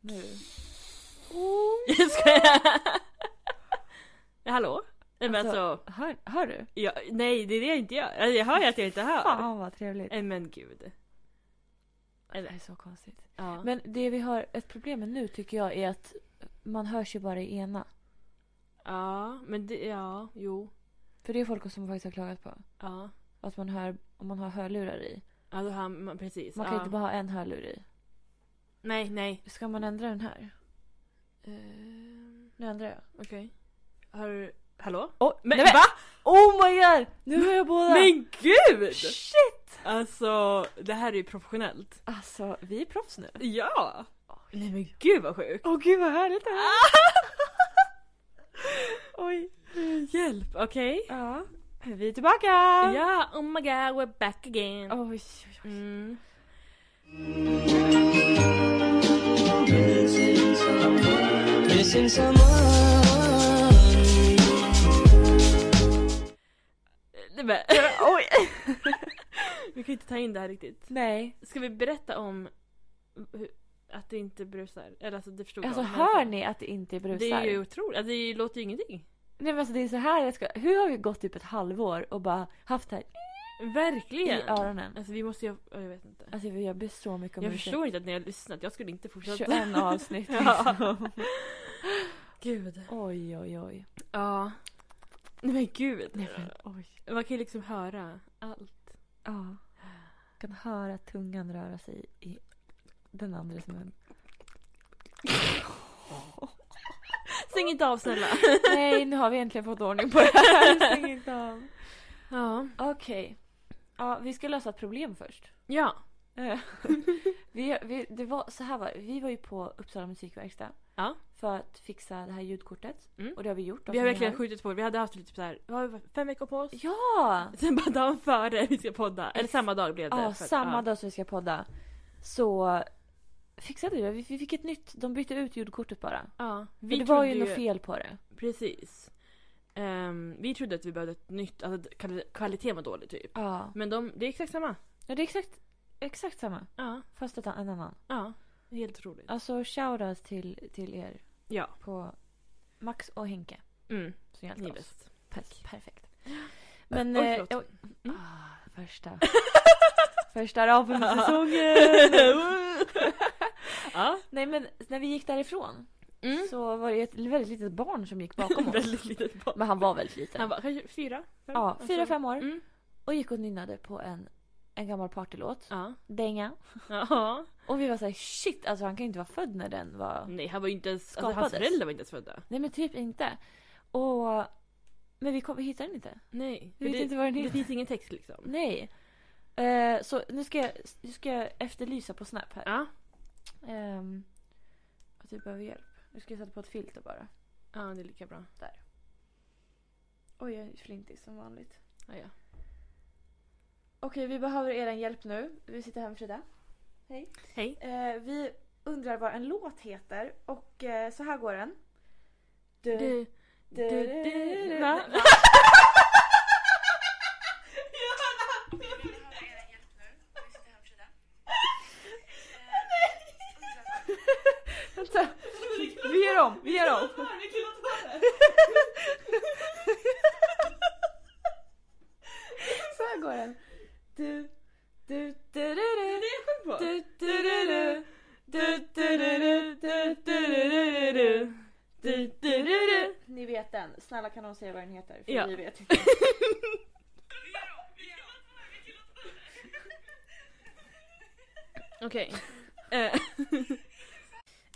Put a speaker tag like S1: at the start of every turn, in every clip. S1: nu.
S2: Oh.
S1: Jag skojar. Hallå? Nej, Men
S2: Alltså-
S1: alltså,
S2: Hör, hör du?
S1: ja, nej det är det jag inte gör. Alltså, jag hör ju att jag inte hör.
S2: Fan vad trevligt.
S1: Nej, Men gud.
S2: Det är så konstigt.
S1: Ja.
S2: Men det vi har ett problem med nu tycker jag är att man hörs ju bara i ena.
S1: Ja, men det, ja, jo.
S2: För det är folk som faktiskt har klagat på.
S1: Ja,
S2: Att man hör, om man har hörlurar i.
S1: ja då har man precis.
S2: Man kan
S1: ja.
S2: inte bara ha en hörlur i.
S1: Nej, nej.
S2: Ska man ändra den här?
S1: Ehm,
S2: Nu ändrar jag.
S1: Okej. Har du... Hallå?
S2: Oh,
S1: Men,
S2: nej, men,
S1: va?
S2: oh my god! Nu har jag båda!
S1: Men gud!
S2: Shit!
S1: Alltså, det här är ju professionellt.
S2: Alltså, vi är proffs nu.
S1: Ja! Nej men gud vad sjukt!
S2: Åh gud vad härligt det här Oj.
S1: Hjälp, okej?
S2: Ja. Vi är tillbaka!
S1: Ja, oh my god we're back again.
S2: Oj, oj, oj.
S1: Mm.
S3: Missing someone.
S1: Nej, men,
S2: oj.
S1: vi kan inte ta in det här riktigt.
S2: Nej.
S1: Ska vi berätta om hur- att det inte brusar? Eller alltså det förstod
S2: Alltså
S1: jag. men
S2: hör
S1: alltså,
S2: ni att det inte brusar?
S1: Det är ju otroligt, alltså, det låter ju ingenting.
S2: Nej men alltså det är så här jag ska... Hur har vi gått typ ett halvår och bara haft det här
S1: Verkligen!
S2: i öronen?
S1: Alltså vi måste ju, ja, jag vet inte.
S2: Alltså jag ber så mycket om
S1: Jag
S2: ursäkt.
S1: förstår inte att ni har lyssnat, jag skulle inte fortsätta.
S2: 21 avsnitt
S1: Ja.
S2: liksom.
S1: Gud.
S2: Oj oj oj.
S1: Ja. Nej men gud.
S2: Nej men oj.
S1: Man kan ju liksom höra allt.
S2: Ja. Kan höra tungan röra sig i den andres mun.
S1: Stäng inte av snälla.
S2: Nej, nu har vi äntligen fått ordning på det här. Stäng inte av.
S1: Ja.
S2: Okej. Ja, vi ska lösa ett problem först.
S1: Ja.
S2: Eh, vi, vi, det var, så här var det. Vi var ju på Uppsala musikverkstad.
S1: Ja.
S2: För att fixa det här ljudkortet.
S1: Mm.
S2: Och det har vi gjort. då,
S1: Vi har
S2: som ni
S1: verkligen
S2: hör.
S1: skjutit på det. Vi hade haft typ så här, vad har vi varit- fem veckor på oss.
S2: Ja!
S1: Sen bara dagen före vi ska podda. Eller
S2: Ex-
S1: samma dag blev det.
S2: Ja,
S1: för att-
S2: samma
S1: ja.
S2: dag som vi ska podda. Så fixade vi det. Vi vi fick ett nytt. De bytte ut ljudkortet bara.
S1: Ja. Vi
S2: Vi det var
S1: trodde
S2: ju, något fel på det.
S1: Precis. Ehm, vi trodde att vi behövde ett nytt, alltså att kvali- kvaliteten var dålig typ.
S2: Ja.
S1: Men de, det är exakt samma.
S2: ja det är exakt, exakt samma.
S1: Ja.
S2: Fast ett, en annan.
S1: Ja. Helt otroligt.
S2: Alltså shoutout till, till er
S1: Ja.
S2: på Max och Henke.
S1: Mm.
S2: Som hjälpte
S1: Ni
S2: oss.
S1: är bäst.
S2: Tack. Perfekt. Men...
S1: Oj,
S2: eh,
S1: förlåt.
S2: oj.
S1: Mm.
S2: Ah, första. första rapen för säsongen!
S1: ja.
S2: Nej men när vi gick därifrån
S1: Mm.
S2: så var det ett väldigt litet barn som gick bakom oss.
S1: Väldigt litet barn.
S2: Men han var väldigt liten.
S1: Han var kanske fyra? fem,
S2: ja,
S1: alltså.
S2: fyra, fem år.
S1: Mm.
S2: Och gick och nynnade på en, en gammal partylåt.
S1: Ja.
S2: Dänga.
S1: ja.
S2: Och vi var såhär shit alltså han kan ju inte vara född när den var...
S1: Nej, han var ju inte ens, alltså,
S2: Skapades.
S1: hans föräldrar var inte ens födda.
S2: Nej men typ inte. Och... Men vi, kom, vi hittade den inte.
S1: Nej.
S2: Vi vet
S1: det,
S2: inte vad den
S1: det
S2: heter.
S1: finns ingen text liksom.
S2: Nej. Eh, så nu ska, jag, nu ska jag efterlysa på Snap här.
S1: Ja.
S2: Ehm, att vi behöver hjälp. Nu ska jag sätta på ett filter bara.
S1: Ja, det är lika bra.
S2: Oj, jag är flintig som vanligt.
S1: Ja, ja.
S2: Okej, vi behöver er hjälp nu. Vi sitter här med Frida. Hej.
S1: Hej.
S2: Eh, vi undrar vad en låt heter och eh, så här går den. Du,
S1: Du, du, du, du. Va?
S2: Vänta. Vi gör om, vi gör om. Så här går den. Du, du, du, du, du. Du, du, du, du. Du, du, du, du, du, du, du, du, du. Du, du, du, du. Ni vet den. Snälla kan någon säga vad den heter? För
S1: Ja.
S2: vi vet inte.
S1: Okej. Eh,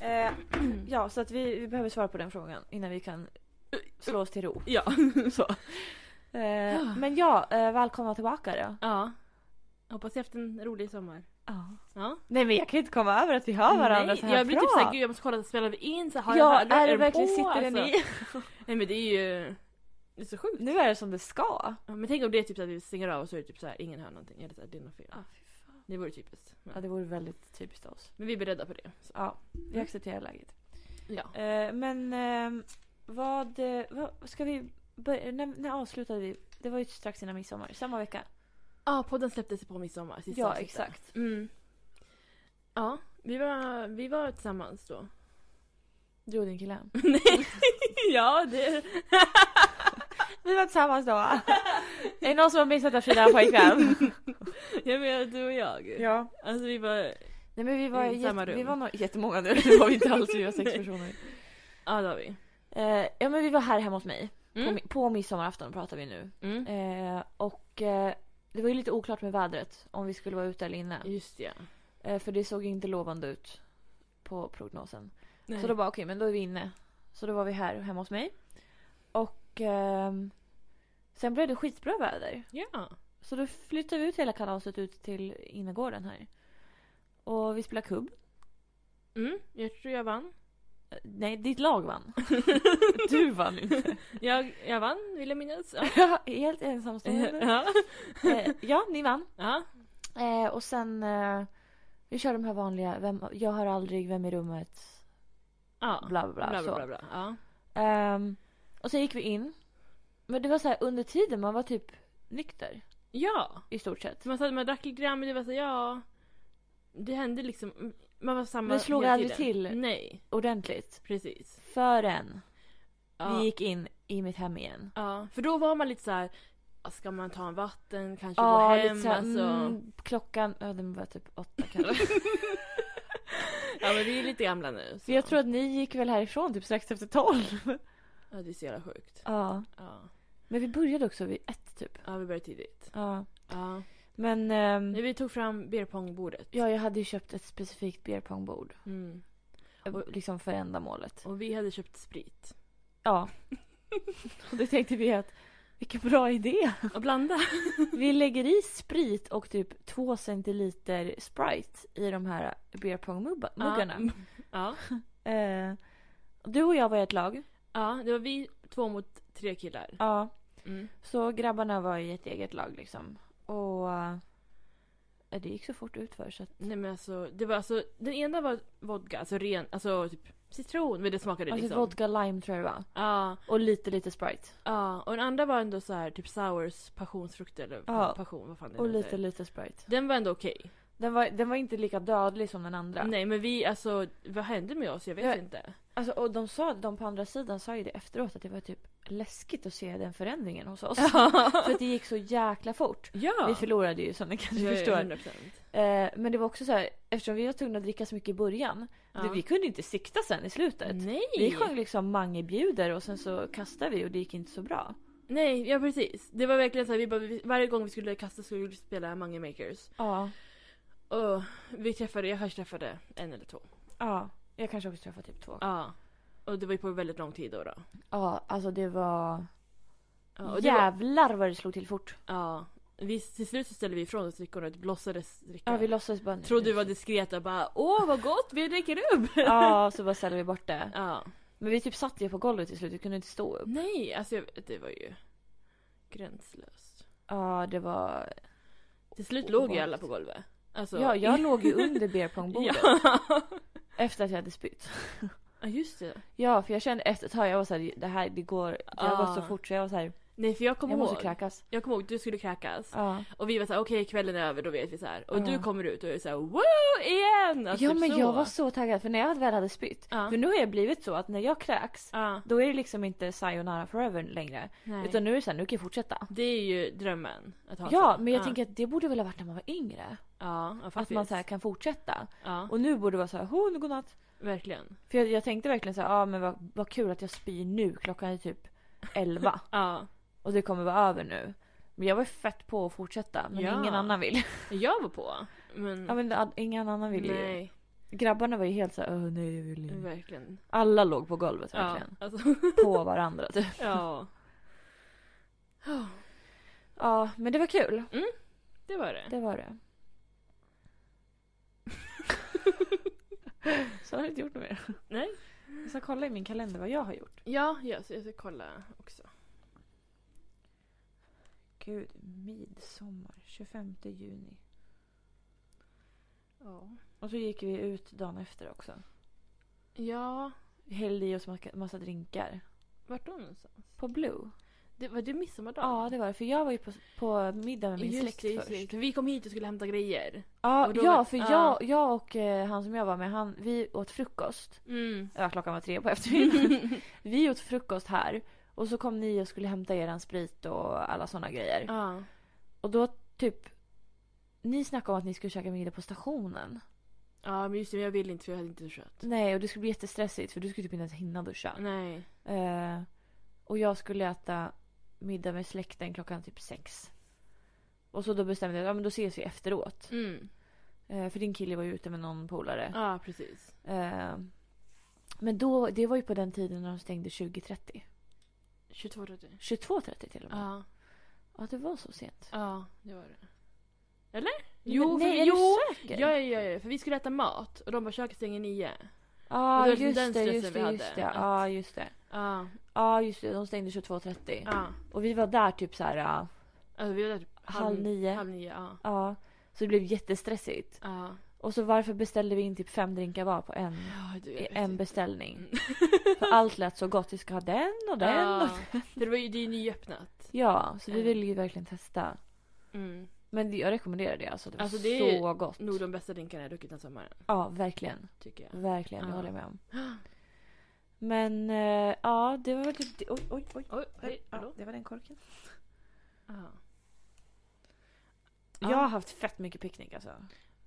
S2: Eh, ja, så att vi, vi behöver svara på den frågan innan vi kan slå oss till ro.
S1: ja, så. Ah.
S2: Eh, men ja, eh, välkomna tillbaka då.
S1: Ja. Hoppas jag haft en rolig sommar. Ja.
S2: Nej men jag kan inte komma över att vi hör varandra
S1: Nej,
S2: så här
S1: jag blir
S2: bra.
S1: typ såhär, gud jag måste kolla, spelar vi in? Så här, har
S2: ja,
S1: jag hörlurar?
S2: är det
S1: den
S2: verkligen,
S1: på?
S2: sitter den
S1: Alltså,
S2: i?
S1: Nej men det är ju... Det är så sjukt.
S2: Nu är det som det ska.
S1: Ja, men tänk om det är typ så att vi stänger av och så är det typ så här, ingen hör någonting. Eller så här, det är något fel. Det vore typiskt.
S2: Ja,
S1: Men,
S2: det vore väldigt typiskt av oss.
S1: men vi är beredda på det. Så.
S2: Ja, vi
S1: Mm.
S2: accepterar läget.
S1: Ja.
S2: Eh, men ehm, vad, eh, vad ska vi börja, när, när avslutade vi? Det var ju strax innan midsommar, samma vecka.
S1: Ja, podden släpptes på midsommar. sista
S2: ja,
S1: avsnittet.
S2: exakt.
S1: Mm. Ja, Vi var, vi var tillsammans då.
S2: Du och din kille.
S1: Nej, ja det...
S2: Vi var tillsammans då. Är det någon som har missat att fira en pojkvän?
S1: Jag menar du och jag.
S2: ja.
S1: Alltså vi var...
S2: Nej men vi var,
S1: I samma
S2: jätte,
S1: rum.
S2: vi var nog jättemånga nu. Det var vi inte alls, vi var sex
S1: Nej.
S2: personer.
S1: Ja det var vi.
S2: Eh, ja men vi var här hemma hos mig. På,
S1: Mm.
S2: mi- på midsommarafton pratar vi nu.
S1: Mm.
S2: Eh, och eh, det var ju lite oklart med vädret. Om vi skulle vara ute eller inne.
S1: Just det, ja.
S2: Eh, för det såg inte lovande ut. På prognosen.
S1: Nej.
S2: Så då bara okej, men då är vi inne. Så då var vi här hemma hos mig. Och ehm, sen blev det skitbra väder.
S1: Ja.
S2: Så då flyttade vi ut hela kalaset ut till innergården här. Och vi spelade kubb.
S1: Mm. Jag tror jag vann.
S2: Eh, Nej, ditt lag vann. Du vann inte.
S1: Jag, jag vann vill jag minnas. Ja.
S2: Helt ensamstående.
S1: ja.
S2: Eh, ja, ni vann.
S1: ja.
S2: Eh, och sen... Eh, vi kör de här vanliga, vem, jag hör aldrig, vem i rummet,
S1: ja.
S2: bla bla bla.
S1: Bla,
S2: så.
S1: bla, bla, bla. Ja.
S2: Ehm, och sen gick vi in. Men det var så här under tiden man var typ nykter
S1: ja.
S2: i stort sett.
S1: Så man, satt, man drack lite grann men det var så ja. Det hände liksom. Man var samma
S2: Men slog
S1: hela
S2: aldrig
S1: tiden.
S2: till?
S1: Nej,
S2: Ordentligt.
S1: precis.
S2: Förrän
S1: Ja.
S2: vi gick in i mitt hem igen.
S1: ja. För då var man lite så här. "Ah, Ska man ta en vatten, kanske
S2: Ja,
S1: gå hem?
S2: lite så här,
S1: alltså.
S2: mm, klockan, ja den var typ åtta kanske.
S1: Ja men vi är lite gamla nu. Så.
S2: För jag tror att ni gick väl härifrån typ strax efter tolv.
S1: Ja det är så jävla sjukt.
S2: ja.
S1: Ja.
S2: Men vi började också vid ett typ.
S1: Ja vi började tidigt.
S2: Ja.
S1: Ja.
S2: Men ehm,
S1: Nej, vi tog fram beer pong-bordet.
S2: ja, jag hade ju köpt ett specifikt beer pong-bord.
S1: Mm.
S2: Liksom för ändamålet.
S1: Och vi hade köpt sprit.
S2: Ja. och det tänkte vi att vilken bra idé.
S1: Och blanda.
S2: Vi lägger i sprit och typ två centiliter Sprite i de här beer pong-muggarna.
S1: Ja.
S2: Eh, du och jag var i ett lag.
S1: ja, det var vi två mot tre killar.
S2: Ja.
S1: Mm.
S2: Så grabbarna var i ett eget lag liksom. Och eh, det gick så fort utför så att...
S1: Nej men alltså, det var alltså, den ena var vodka, alltså ren, alltså typ citron, men det smakade
S2: Alltså
S1: liksom.
S2: vodka lime tror jag det var.
S1: Ja,
S2: Och lite lite Sprite.
S1: ja. Och den andra var ändå så här typ sours passionsfrukt eller
S2: Ja.
S1: passion, vad fan det
S2: Och
S1: heter.
S2: lite lite Sprite.
S1: Den var ändå okej.
S2: Den var, den var inte lika dödlig som den andra.
S1: Nej men vi, alltså vad hände med oss? Jag vet
S2: Ja.
S1: inte.
S2: Alltså, och de, sa, de på andra sidan sa ju det efteråt att det var typ läskigt att se den förändringen hos oss. För att det gick så jäkla fort.
S1: Ja!
S2: Vi förlorade ju som ni kanske
S1: Ja, ja,
S2: förstår.
S1: 100%.
S2: Eh, men det var också så här, eftersom vi var tvungna att dricka så mycket i början.
S1: Ja.
S2: Du, vi kunde inte sikta sen i slutet.
S1: Nej!
S2: Vi sjöng liksom mangebjuder och sen så kastade vi och det gick inte så bra.
S1: Nej, ja precis. Det var verkligen så här, vi bara, vi, varje gång vi skulle kasta skulle vi spela Mange Makers.
S2: Ja.
S1: Och vi träffade, jag kanske träffade en eller två.
S2: ja. Jag kanske också träffade typ två. Ja,
S1: Ja. Och det var ju på väldigt lång tid då. då.
S2: alltså det var...
S1: Ja, och det var,
S2: Jävlar vad det slog till fort.
S1: ja. Vi, till slut så ställde vi ifrån oss drickorna och låtsades dricka.
S2: Ja, vi låtsades bara...
S1: Trodde vi var diskreta och bara åh vad gott, vi dricker upp!
S2: Ja, så bara ställde vi bort det.
S1: ja.
S2: Men vi typ satt ju på golvet till slut, vi kunde inte stå upp.
S1: Nej, alltså jag, det var ju gränslöst.
S2: Ja, det var...
S1: Till slut
S2: O-
S1: låg ju
S2: ovanligt.
S1: alla på golvet. Alltså,
S2: Ja, jag låg ju under beerpongbordet
S1: ja.
S2: efter att jag hade spytt.
S1: ja, just det.
S2: Ja, för jag kände efter ett tag, jag var såhär, det här, det går, det har
S1: Ja.
S2: gått så fort så jag var såhär,
S1: Nej för jag kommer
S2: jag måste
S1: ihåg.
S2: kräkas.
S1: Jag kommer ihåg, du skulle kräkas.
S2: Ja,
S1: Och vi var såhär, okej kvällen är över, då vet vi så här. Och
S2: Ja.
S1: du kommer ut och är såhär, woo igen! Alltså,
S2: ja
S1: typ
S2: men
S1: så.
S2: jag var så taggad för när jag väl hade spytt,
S1: Ja.
S2: för nu har jag blivit så att när jag kräks,
S1: Ja,
S2: då är det liksom inte sayonara forever längre.
S1: nej.
S2: Utan nu är det såhär, nu kan jag fortsätta.
S1: Det är ju drömmen. Att ha
S2: Ja,
S1: så.
S2: men jag tänker att det borde väl ha varit när man var yngre.
S1: Ja, ja
S2: Att
S1: faktiskt.
S2: man så här kan fortsätta.
S1: Ja,
S2: Och nu borde det vara såhär, hon, godnatt.
S1: verkligen.
S2: För jag, jag tänkte verkligen så här, ah, men vad, vad kul att jag spyr nu, klockan är typ 11
S1: Ja.
S2: och det kommer vara över nu. Men jag var fett på att fortsätta, men
S1: Ja. Mm.
S2: ingen annan vill.
S1: Jag var på. Men,
S2: ja men ad- ingen annan vill ju.
S1: nej,
S2: Grabbarna var ju helt såhär, "Åh, nej jag vill inte.
S1: verkligen.
S2: Alla låg på golvet
S1: Ja,
S2: verkligen.
S1: alltså,
S2: På varandra typ.
S1: ja. Oh,
S2: Ja, men det var kul.
S1: det var det.
S2: Det var det. så har jag inte gjort något mer.
S1: Nej.
S2: Jag ska kolla i min kalender vad jag har gjort.
S1: Ja, ja, så jag ska kolla också.
S2: Gud, midsommar, 25 juni.
S1: Ja.
S2: Och så gick vi ut dagen efter också.
S1: Ja,
S2: Vi hällde i oss massa, massa drinkar.
S1: vart då någonstans?
S2: På Blue.
S1: Det, var det midsommardagen?
S2: Ja, det var det. För jag var ju på, på middag med min
S1: Just
S2: släkt
S1: det, just
S2: först.
S1: det. För Vi kom hit och skulle hämta grejer.
S2: Ja,
S1: Och då var-
S2: ja, för
S1: ja.
S2: Jag, jag och eh, han som jag var med, han, vi åt frukost.
S1: Mm.
S2: Ja, klockan var tre på eftermiddagen. vi åt frukost här. Och så kom ni och skulle hämta er en sprit och alla sådana grejer.
S1: Ja.
S2: Och då typ... Ni snackade om att ni skulle käka middag på stationen.
S1: ja, men just det. Men jag ville inte för jag hade inte duschat.
S2: Nej, och det skulle bli jättestressigt för du skulle typ inte ens hinna duscha.
S1: Nej. Mm.
S2: Eh, och jag skulle äta middag med släkten klockan typ sex. Och så då bestämde jag att ja, men då ses vi efteråt.
S1: Mm.
S2: Eh, för din kille var ju ute med någon polare.
S1: Ja, precis.
S2: Eh, men då, det var ju på den tiden när de stängde 20.30.
S1: 22.30.
S2: 22.30 till och med.
S1: Ja.
S2: Ja, det var så sent.
S1: Ja, det var det. Eller? Jo,
S2: Nej,
S1: för
S2: är
S1: vi, jo.
S2: du säker?
S1: Ja, ja, ja, ja, för vi skulle äta mat och de bara köket stänger nio.
S2: Ja,
S1: Och det var liksom
S2: just,
S1: den
S2: det,
S1: stressen
S2: just
S1: vi
S2: det,
S1: hade,
S2: just det.
S1: att-
S2: Ja, just det.
S1: Ja,
S2: Ja, just det. De stängde 22.30.
S1: ja.
S2: Och vi var där typ så här, ja.
S1: Alltså vi var där typ
S2: Halv nio.
S1: Halv nio, ja.
S2: ja. Så det blev jättestressigt.
S1: Ja,
S2: Och så varför beställde vi in typ fem drinkar var på en,
S1: ja du, jag
S2: i
S1: vet
S2: en
S1: inte.
S2: beställning?
S1: Mm.
S2: För allt lät så gott. Vi ska ha den och den.
S1: Ja.
S2: Och...
S1: För det, var ju, det är ju nyöppnat.
S2: ja, så vi
S1: Mm.
S2: ville ju verkligen testa.
S1: Mm.
S2: Men det- jag rekommenderar det alltså. Det var
S1: Alltså, det är
S2: så gott.
S1: Nog de bästa drinkarna jag druckit den sommaren,
S2: Ja, verkligen.
S1: tycker jag.
S2: Verkligen. Det
S1: Ja.
S2: håller jag med om. Men eh, ja, det var väl typ det. Oj, oj, oj.
S1: Oj, hej, hallå?
S2: det var den korken.
S1: Ja.
S2: Jag har haft fett mycket picknick alltså.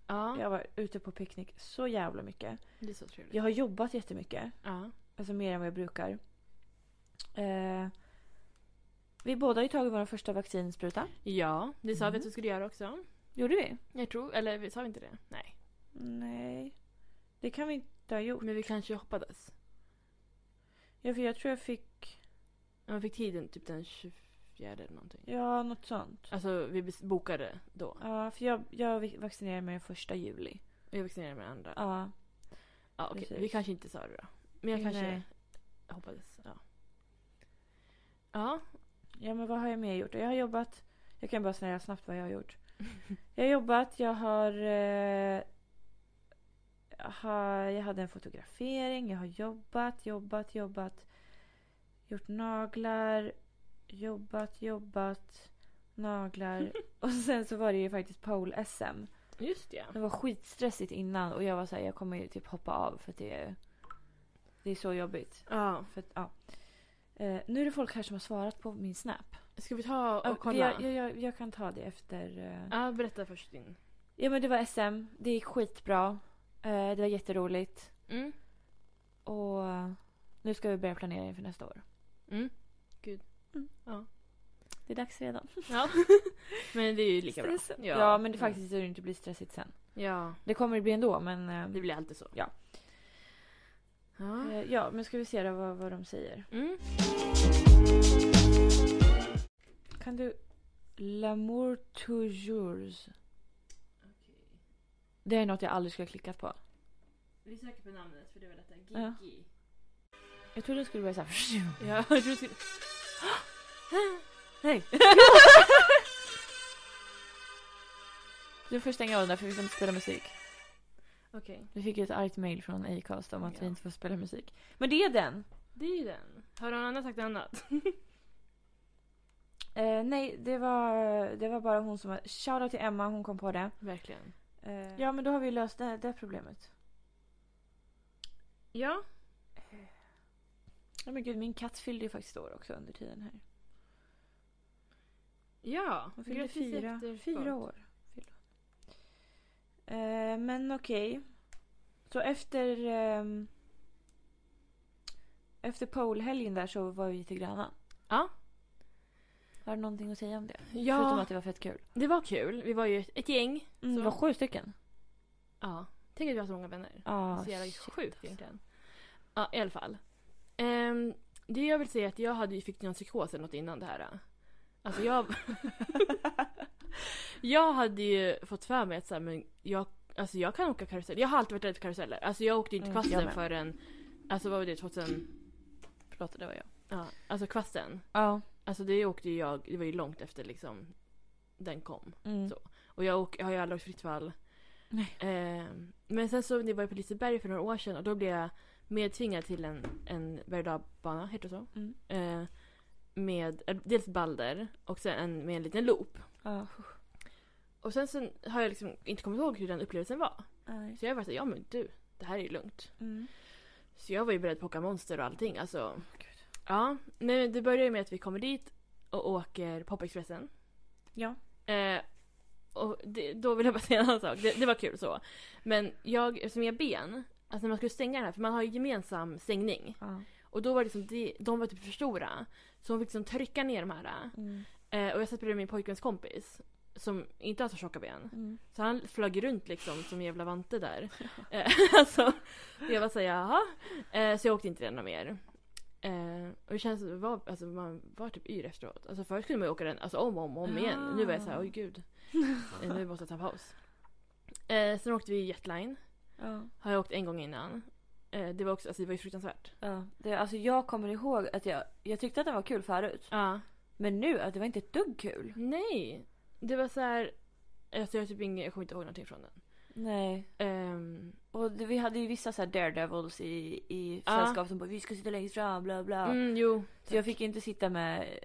S1: Ja,
S2: Jag var ute på picknick så jävla mycket.
S1: det är så trevligt.
S2: Jag har jobbat jättemycket.
S1: Ja.
S2: Alltså mer än vad jag brukar. Eh, vi båda har ju tagit vår första vaccinspruta.
S1: Ja, det sa vi
S2: Mm.
S1: att vi skulle göra också.
S2: Gjorde vi?
S1: Jag tror, eller vi sa vi inte det? Nej.
S2: Nej. Det kan vi inte ha gjort.
S1: Men vi kanske hoppades.
S2: Ja, för jag tror jag fick...
S1: Ja, Man fick tiden typ den 24 eller någonting.
S2: Ja, något sånt.
S1: Alltså vi bes- bokade då.
S2: Ja, för jag, jag vi- vaccinerade mig den första juli.
S1: Jag vaccinerade med andra.
S2: Ja.
S1: Ja, okej.
S2: precis.
S1: Vi kanske inte sa det då. Men jag kanske
S2: Nej.
S1: hoppades. Ja. Ja.
S2: Ja, men vad har jag mer gjort? Jag har jobbat... Jag kan bara säga snabbt vad jag har gjort. Jag har jobbat, jag har... Eh, har jag hade en fotografering, jag har jobbat, jobbat, jobbat. Gjort naglar, jobbat, jobbat, naglar. Och sen så var det ju faktiskt pole-SM.
S1: Just det.
S2: Det var skitstressigt innan och jag var såhär, jag kommer ju typ hoppa av för att det är... Det är så jobbigt.
S1: Ja.
S2: För att, ja. Eh, nu är det folk här som har svarat på min snap.
S1: Ska vi ta och
S2: Ja,
S1: kolla?
S2: Jag, jag, jag, jag kan ta det efter. eh.
S1: Ja, berätta först din.
S2: Ja men det var SM. Det gick skitbra. Eh, Det var jätteroligt.
S1: Mm.
S2: Och eh, nu ska vi börja planera inför nästa år.
S1: Mm.
S2: Det är dags redan.
S1: Ja. men det är ju lika bra.
S2: Stress. Ja, men det
S1: Ja.
S2: faktiskt så det inte blir stressigt sen.
S1: Ja,
S2: Det kommer det bli ändå men... eh,
S1: det blir alltid så.
S2: Ja.
S1: Ja.
S2: eh, Ja men ska vi se då vad, vad de säger.
S1: Mm.
S2: Kan du... L'amour toujours. Det är något jag aldrig skulle ha klickat på.
S1: Vi söker på namnet för det var detta.
S2: Ja. Jag trodde det skulle börja såhär...
S1: Ja, jag tror du skulle... Hej!
S2: Du får stänga av den där för vi får inte spela musik.
S1: Okej.
S2: Vi fick ju ett argt mail från Acast om att vi
S1: Ja.
S2: inte får spela musik. Men det är den!
S1: Det är ju den. Har någon annan sagt annat?
S2: Eh, nej, det var, det var bara hon som... Shoutout till Emma, hon kom på det.
S1: Verkligen.
S2: Eh, ja, men då har vi löst det, det problemet.
S1: Ja.
S2: Ja men gud, min katt fyllde ju faktiskt år också under tiden här.
S1: Ja.
S2: Hon fyllde
S1: Grattis i
S2: fyra,
S1: efterskott.
S2: fyra år. Fyllde hon. Eh, men okej. Så efter... ehm, efter polehelgen där så var vi till Gröna.
S1: Ja.
S2: Har du någonting att säga om det? Förutom
S1: Ja,
S2: att det var fett kul.
S1: det var kul. Vi var ju ett- ett gäng.
S2: Mm,
S1: Så-
S2: det var sju stycken.
S1: Ja. Tänk att vi har så många vänner.
S2: Ah,
S1: så jävla
S2: shit,
S1: sjukt
S2: alltså.
S1: egentligen. Ja, i alla fall. Ehm, det jag vill säga är att jag hade ju fick någon psykos eller något innan det här. Alltså jag... jag hade ju fått för mig att så här, men jag, alltså jag kan åka karusell. Jag har alltid varit rädd för karuseller. Alltså jag åkte ju inte
S2: Mm, jag
S1: kvasten
S2: med.
S1: förrän... Alltså vad var det? 2000...
S2: Förlåt, det var jag.
S1: Ja, alltså kvasten.
S2: Ja.
S1: Alltså det åkte ju jag, det var ju långt efter liksom den kom.
S2: Mm.
S1: Så. Och jag, åk, jag har ju aldrig åkt fritt fall.
S2: Nej.
S1: Eh, men sen så när jag var på Liseberg för några år sedan och då blev jag medtvingad till en, en berg heter det så?
S2: Mm.
S1: Eh, med eh, dels balder och sen en, med en liten loop.
S2: Ja.
S1: Och sen, sen har jag liksom inte kommit ihåg hur den upplevelsen var.
S2: Nej.
S1: Så jag var såhär, ja men du, det här är ju lugnt.
S2: Mm.
S1: Så jag var ju beredd på att åka monster och allting. Alltså,
S2: Gud.
S1: ja. Men det börjar ju med att vi kommer dit och åker Popexpressen.
S2: Ja.
S1: Eh, och det, då vill jag bara säga en annan sak. Det, det var kul så. Men jag, eftersom jag är ben, alltså när man skulle stänga den här, för man har ju gemensam stängning.
S2: Ja.
S1: Och då var det liksom, de, de var typ för stora. Så hon fick liksom trycka ner de här.
S2: Mm.
S1: Eh, och jag satt bredvid min pojkväns kompis. Som inte har så tjocka ben.
S2: Mm.
S1: Så han flög runt liksom som jävla vante där. Eh, alltså, och jag var såhär jaha. Eh, så jag åkte inte den mer. Eh, och det känns som det var, alltså, man var typ yr efteråt. Alltså förut kunde man ju åka den alltså, om och om, och om igen. Nu var jag såhär oj gud. Eh, nu måste jag ta paus. Eh, sen åkte vi jetline.
S2: Ja.
S1: Har jag åkt en gång innan. Eh, det var också, alltså det var ju fruktansvärt.
S2: Ja. Det, alltså jag kommer ihåg att jag, jag tyckte att det var kul förut.
S1: Ja.
S2: Men nu, att det var inte ett dugg kul.
S1: Nej! Det var så här. Alltså jag, har typ ingen, jag kommer inte ihåg någonting från den.
S2: Nej.
S1: Ehm,
S2: Och det, vi hade ju vissa så här daredevils i, i
S1: Ja.
S2: sällskap som bara vi ska sitta längst fram bla bla.
S1: mm, jo.
S2: Så jag fick ju inte sitta med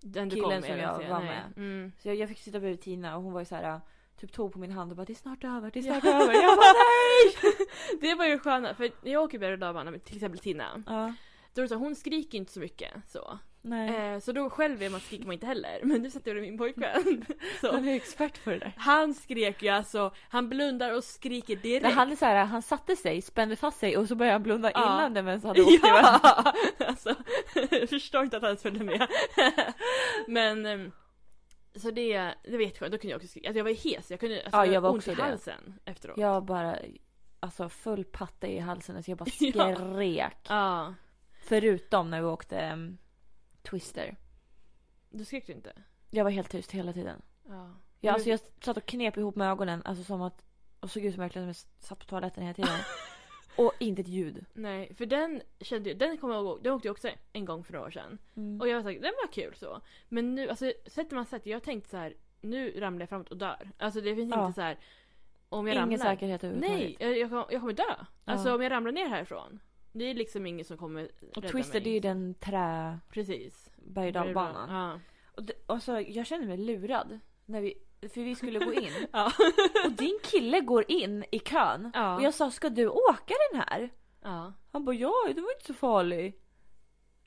S1: Den du
S2: killen
S1: kom med,
S2: som
S1: den
S2: jag
S1: ser
S2: var
S1: nej.
S2: med.
S1: Mm.
S2: Så jag, jag fick sitta bredvid Tina och hon var ju så här äh, typ tog på min hand och bara det är snart över, det är
S1: Ja.
S2: snart över. Jag bara nej!
S1: Det var ju sköna, för när jag åker berg och dalbana med till exempel Tina,
S2: Ja,
S1: då är det så här, hon skriker inte så mycket så.
S2: nej.
S1: Eh, så då själv är man, skriker man inte heller, men nu satt jag med min pojkvän. Så.
S2: Han är expert på det där.
S1: Han skrek ju alltså, han blundar och skriker direkt.
S2: Men han, är så här, han satte sig, spände fast sig och så började han blunda
S1: Ja.
S2: innan den ens hade åkt iväg.
S1: Ja! Alltså, jag förstår inte att han ens följde med. Men ehm, så det, det var jätteskönt, då kunde jag också skrika. Alltså jag var hes, jag kunde alltså,
S2: Ja, jag var
S1: ont
S2: också
S1: i
S2: det.
S1: halsen efteråt. Ja.
S2: Jag bara, alltså full patta i halsen. Alltså jag bara
S1: Ja.
S2: skrek. Förutom när vi åkte ehm, Twister.
S1: du skrek du inte?
S2: Jag var helt tyst hela tiden.
S1: Ja.
S2: Jag, alltså, jag satt och knep ihop med ögonen, alltså som att... Och såg ut som verkligen som jag satt på toaletten hela tiden. och inte ett ljud.
S1: Nej, för den kände jag, den kommer jag ihåg, den åkte jag också en gång för några år sedan.
S2: Mm.
S1: Och jag var såhär, den var kul så. Men nu, alltså sätter man sätter, jag har tänkt så här, nu ramlar jag framåt och dör. Alltså det finns
S2: Ja.
S1: inte så här. om jag
S2: Ingen
S1: ramlar.
S2: säkerhet överhuvudtaget.
S1: Nej, jag, jag, kom- jag kommer dö. Alltså
S2: Ja.
S1: om jag ramlar ner härifrån. Det är liksom ingen som kommer rädda
S2: Och Twister
S1: mig.
S2: det är ju den trä
S1: Precis.
S2: berg och dalbanan.
S1: Ja.
S2: Och det- och så jag kände mig lurad. När vi, för vi skulle gå in.
S1: Ja.
S2: och din kille går in i kön.
S1: Ja.
S2: Och jag sa ska du åka den här?
S1: ja.
S2: Han bara ja, det var inte så farlig.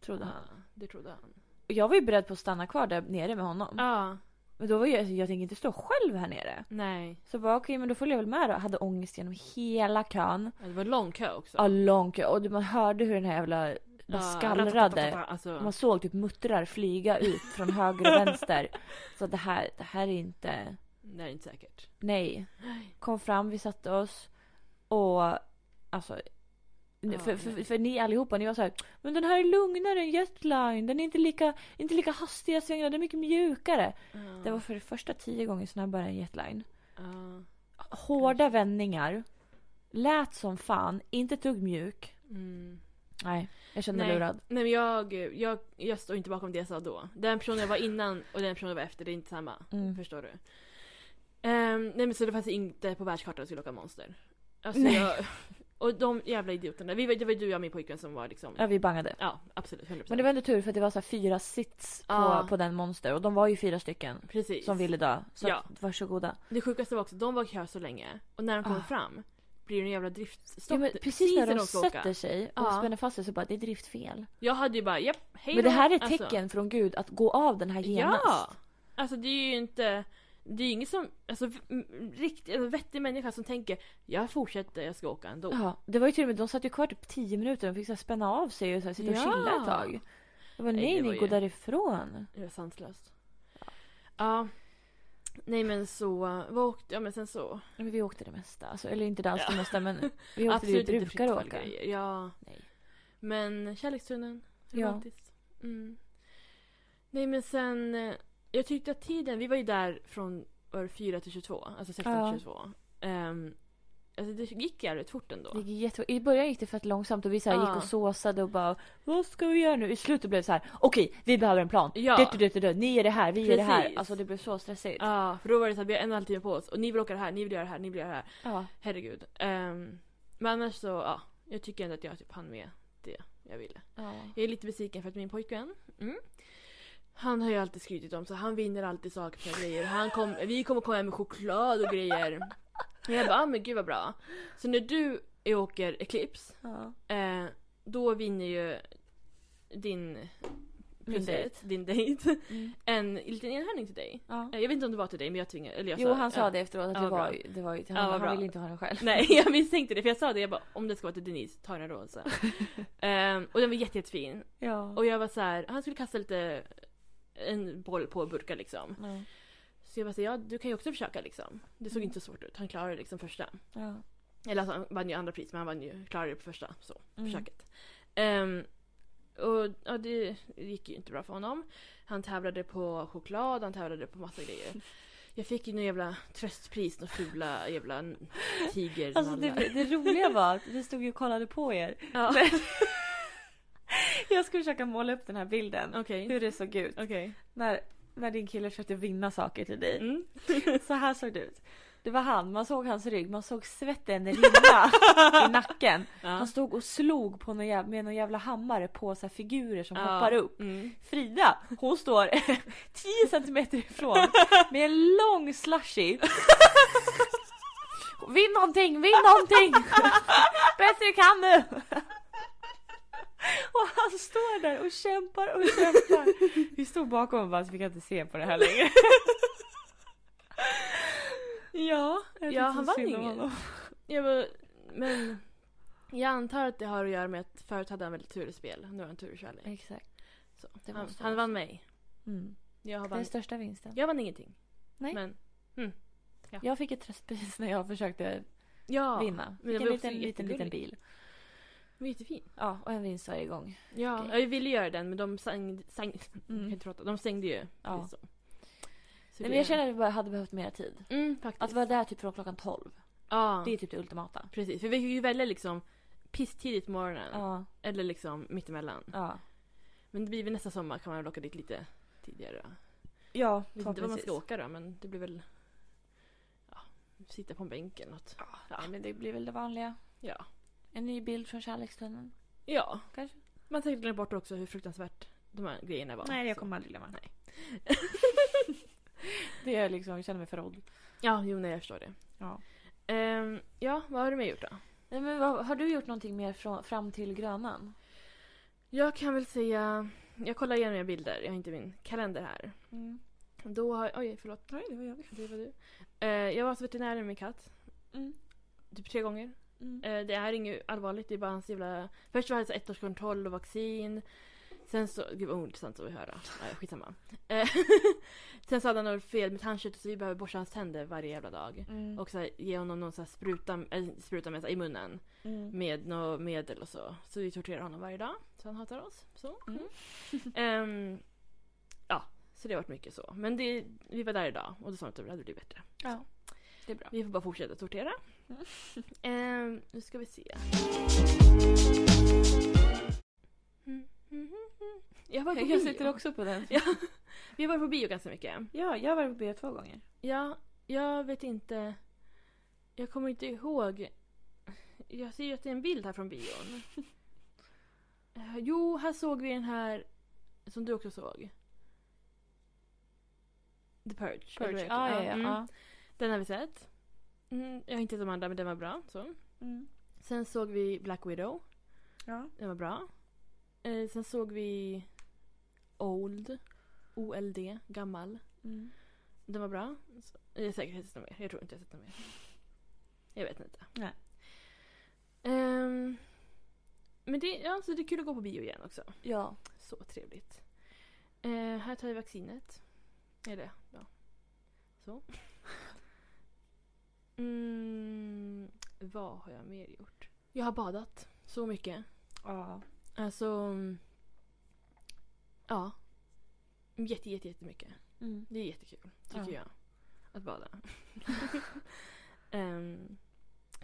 S2: Trodde han.
S1: ja. Det trodde han.
S2: Och jag var ju beredd på att stanna kvar där nere med honom.
S1: Ja.
S2: Men då var jag, jag tänkte inte stå själv här nere.
S1: Nej.
S2: Så jag bara okej men då följer jag väl med då. Hade ångest genom hela kön.
S1: Ja, Det var lång kö också.
S2: Ja lång kö. Och man hörde hur den här jävla bara
S1: Ja,
S2: skallrade.
S1: ratatatata, Alltså,
S2: Man såg typ muttrar flyga ut från höger och vänster. Så det här, det här är inte...
S1: det här är inte säkert.
S2: Nej. Kom fram, vi satte oss. Och alltså...
S1: Ja,
S2: För, för,
S1: nej.
S2: för ni allihopa, ni var så här, men den här är lugnare än Jetline. Den är inte lika, inte lika hastiga svängar, den är mycket mjukare.
S1: Ja.
S2: Det var för det första tio gånger snabbare än Jetline.
S1: Ja.
S2: Hårda vändningar. Lät som fan, inte ett dugg mjuk.
S1: Mm.
S2: Nej, jag kände mig
S1: Nej.
S2: lurad.
S1: Nej men jag, jag, jag står inte bakom det jag sa då. Den personen jag var innan och den personen jag var efter, det är inte samma.
S2: Mm.
S1: Förstår du? Ehm, nej men så det fanns inte på världskartan att skulle åka monster. Alltså
S2: Nej.
S1: jag... Och de jävla idioterna. Vi, var- det var ju du och jag och min pojkvän som var liksom...
S2: Ja, vi bangade.
S1: Ja, absolut. 100%.
S2: Men det var ändå tur för att det var så här fyra sits på,
S1: Ja.
S2: på den monster och de var ju fyra stycken
S1: Precis.
S2: som ville dö. Så
S1: Ja.
S2: att, varsågoda.
S1: Det sjukaste var också, de var i kö så länge och när de kom
S2: Ah.
S1: fram blir det en jävla driftstopp.
S2: Ja, men precis när de
S1: ska åka.
S2: sätter sig och
S1: Ja.
S2: spänner fast sig så bara det är driftfel.
S1: Jag hade ju bara, japp, hej
S2: Men
S1: då.
S2: det här är ett
S1: Alltså,
S2: tecken från gud att gå av den här genast.
S1: Ja! Alltså det är ju inte, det är ju ingen som, alltså v- m- riktigt, alltså, vettig människa som tänker jag fortsätter, jag ska åka ändå.
S2: Ja, det var ju till och med, de satt ju kvar typ 10 minuter och fick så här spänna av sig och så här sitta och
S1: Ja.
S2: chilla ett tag. Jag bara nej,
S1: Nej, det
S2: nej
S1: var
S2: ni
S1: ju-
S2: går därifrån.
S1: Det var sanslöst. Ja. Nej men så, vad åkte, ja men sen så.
S2: Men vi åkte det mesta, alltså, eller inte det alls det mesta men vi åkte det vi
S1: Absolut inte
S2: brukar
S1: brukar
S2: åka.
S1: grejer. Ja.
S2: Nej.
S1: Men kärlekstunneln,
S2: Ja.
S1: romantiskt. Mm. Nej men sen, eh, jag tyckte att tiden, vi var ju där från var det 4 till 22, alltså 16
S2: Ja.
S1: till 22. Ehm, alltså det gick jävligt fort ändå.
S2: Det gick jätte... I början gick det för att långsamt och vi så här
S1: Ja.
S2: gick och såsade och bara Vad ska vi göra nu? I slutet blev det så här okej vi behöver en plan.
S1: Ja.
S2: Du, du, du, du, du. Ni är det här, vi är det här.
S1: Precis.
S2: Alltså det blev så stressigt.
S1: Ja, Typ. för då var det såhär, vi har en och en halv timme på oss och ni vill åka det här, ni vill göra det här, ni vill göra det här.
S2: Ja.
S1: Herregud. Ehm, men annars så, ja. Jag tycker ändå att jag typ hann med det jag ville.
S2: Ja.
S1: Jag är lite besviken för att min pojkvän, mm, Han har ju alltid skrytit om så han vinner alltid saker och grejer. Han kom, vi kommer komma hem med choklad och grejer. Och jag bara, ah, men gud vad bra. Så när du åker Eclipse,
S2: Ja.
S1: eh, då vinner ju din
S2: Min
S1: prinsett, din dejt, en liten enhörning till dig.
S2: Ja.
S1: Eh, Jag vet inte om det var till dig men jag tvingade, eller jag
S2: Jo,
S1: sa,
S2: han
S1: ja.
S2: sa det efteråt att
S1: Ja,
S2: det,
S1: bra.
S2: var, ju- det var ju till
S1: Ja,
S2: honom.
S1: vad
S2: han
S1: bra.
S2: ville inte ha den själv.
S1: Nej jag misstänkte det för jag sa det, jag bara om det ska vara till Denise, ta den här rosa. Ehm, och den var jätte, jättefin.
S2: Ja.
S1: Och jag var så här, han skulle kasta lite en boll på burkar liksom.
S2: ja.
S1: Så jag bara så här, ja du kan ju också försöka liksom. Det såg
S2: Mm.
S1: inte så svårt ut, han klarade liksom första.
S2: ja.
S1: Eller alltså, han vann ju andra pris men han vann ju, klarade det på första så,
S2: Mm.
S1: försöket. Ehm, och ja, det gick ju inte bra för honom. Han tävlade på choklad, han tävlade på massa grejer. Jag fick ju någon jävla tröstpris, någon fula jävla tiger.
S2: Alltså det, det roliga var att vi stod ju och kollade på er.
S1: Ja,
S2: Jag ska försöka måla upp den här bilden.
S1: okej.
S2: Hur det såg ut.
S1: Okej.
S2: När, när din kille försökte vinna saker till dig.
S1: Mm.
S2: Så här såg det ut. Det var han, man såg hans rygg, man såg svetten rinna i nacken. Han
S1: Ja.
S2: stod och slog på någon jävla, med någon jävla hammare på så här figurer som
S1: Ja.
S2: hoppar upp.
S1: Mm.
S2: Frida, hon står 10 centimeter ifrån med en lång slushy. Vinn någonting, vinn någonting! Bäst du kan nu! Och han står där och kämpar och kämpar. Vi stod bakom och bara, så vi kan inte se på det här längre. Ja, jag tyckte
S1: Ja,
S2: så
S1: han vann
S2: synd om
S1: inget.
S2: honom.
S1: Jag bara, men jag antar att det har att göra med att förut hade han väldigt tur i spel, nu har han tur i kärlek.
S2: Exakt.
S1: Så.
S2: Det
S1: Han,
S2: måste
S1: han
S2: vara
S1: vann mig.
S2: så. Mm.
S1: Jag, har
S2: Den
S1: vann,
S2: största vinsten.
S1: jag vann ingenting.
S2: Nej.
S1: Men,
S2: Jag fick ett tröstpris när jag försökte
S1: ja.
S2: vinna.
S1: men det
S2: Fick en
S1: var också
S2: liten, liten, liten
S1: jättegulligt.
S2: bil.
S1: Det var jättefin.
S2: Ja, och en vinst varje gång.
S1: Ja,
S2: Okej.
S1: jag ville göra den men de sang... sang
S2: Mm.
S1: jag kan inte prata, de stängde ju.
S2: Ja.
S1: precis Så. Så
S2: Nej,
S1: det-
S2: men jag känner att vi bara hade behövt mer tid.
S1: Mm, faktiskt.
S2: Att vara där typ från klockan 12.
S1: ja,
S2: Det är typ det ultimata.
S1: precis. För vi fick ju välja liksom pisstidigt på morgonen
S2: Ja,
S1: eller liksom mittemellan.
S2: ja.
S1: Men det blir väl nästa sommar kan man väl åka dit lite tidigare. då.
S2: Ja,
S1: Jag vet inte vad man ska åka då men det blir väl... Ja, sitta på en bänk eller något.
S2: Ja, men det blir väl det vanliga.
S1: Ja.
S2: En ny bild från kärlekstunneln.
S1: Ja.
S2: Kanske.
S1: Man säkert glömmer bort också hur fruktansvärt de här grejerna var. Så.
S2: aldrig glömma. Nej. det är liksom, jag känner mig förrådd.
S1: Ja, jo nej jag förstår det.
S2: Ja.
S1: Ehm, ja, vad har du mer gjort då?
S2: Nej, men vad, har du gjort någonting mer från, fram till Grönan?
S1: Jag kan väl säga... Jag kollar igenom mina bilder, jag har inte min kalender här.
S2: Mm.
S1: Då har... Oj, förlåt.
S2: Nej, det var jag.
S1: Det var du. Eh, jag var hos veterinären med min katt.
S2: Mm.
S1: Typ tre gånger.
S2: Mm.
S1: Eh, det är inget allvarligt, det är bara hans jävla... Först var det så här ettårskontroll och vaccin. Sen så... Gud vad ointressant att höra. Eh, skitsamma. Eh, sen så hade han något fel med tandköttet så vi behöver borsta hans tänder varje jävla dag.
S2: Mm.
S1: Och så här, ge honom någon så här spruta, eller spruta med, så här, i munnen
S2: Mm.
S1: med något medel och så. Så vi torterar honom varje dag. Så han hatar oss. Så.
S2: Mm.
S1: Ehm, ja, så det har varit mycket så. Men det, vi var där idag och då sa de att det hade blivit bättre.
S2: Ja, det är bra.
S1: Vi får bara fortsätta tortera.
S2: Mm.
S1: Ehm, nu ska vi se. Jag, var på bio.
S2: Jag sitter också på den.
S1: Ja, vi har varit på bio ganska mycket.
S2: Ja, jag har varit på bio två gånger.
S1: Ja, jag vet inte. Jag kommer inte ihåg. Jag ser ju att det är en bild här från bion. Eh, jo, här såg vi den här som du också såg. The Purge. eller vad
S2: Purge.
S1: heter
S2: Ah,
S1: den?
S2: ja, ja,
S1: Mm.
S2: ja.
S1: Den har vi sett. Mm, jag har inte sett de andra men den var bra. Så.
S2: Mm.
S1: Sen såg vi Black Widow.
S2: ja.
S1: Den var bra. Eh, sen såg vi Old. OLD. Gammal.
S2: Mm.
S1: Den var bra. Så- Jag har säkert sett något mer. Jag tror inte jag har sett något mer. Jag vet inte.
S2: Nej.
S1: Ehm, men det, ja, så det är kul att gå på bio igen också.
S2: Ja.
S1: Så trevligt. Eh, här tar jag vaccinet. Eller ja. Så. Mm, vad har jag mer gjort? Jag har badat så mycket.
S2: Ja.
S1: Alltså... mm, Ja. Jätte, jätte, jättemycket.
S2: Mm.
S1: Det är jättekul,
S2: Ja.
S1: tycker jag. Att bada. Ehm,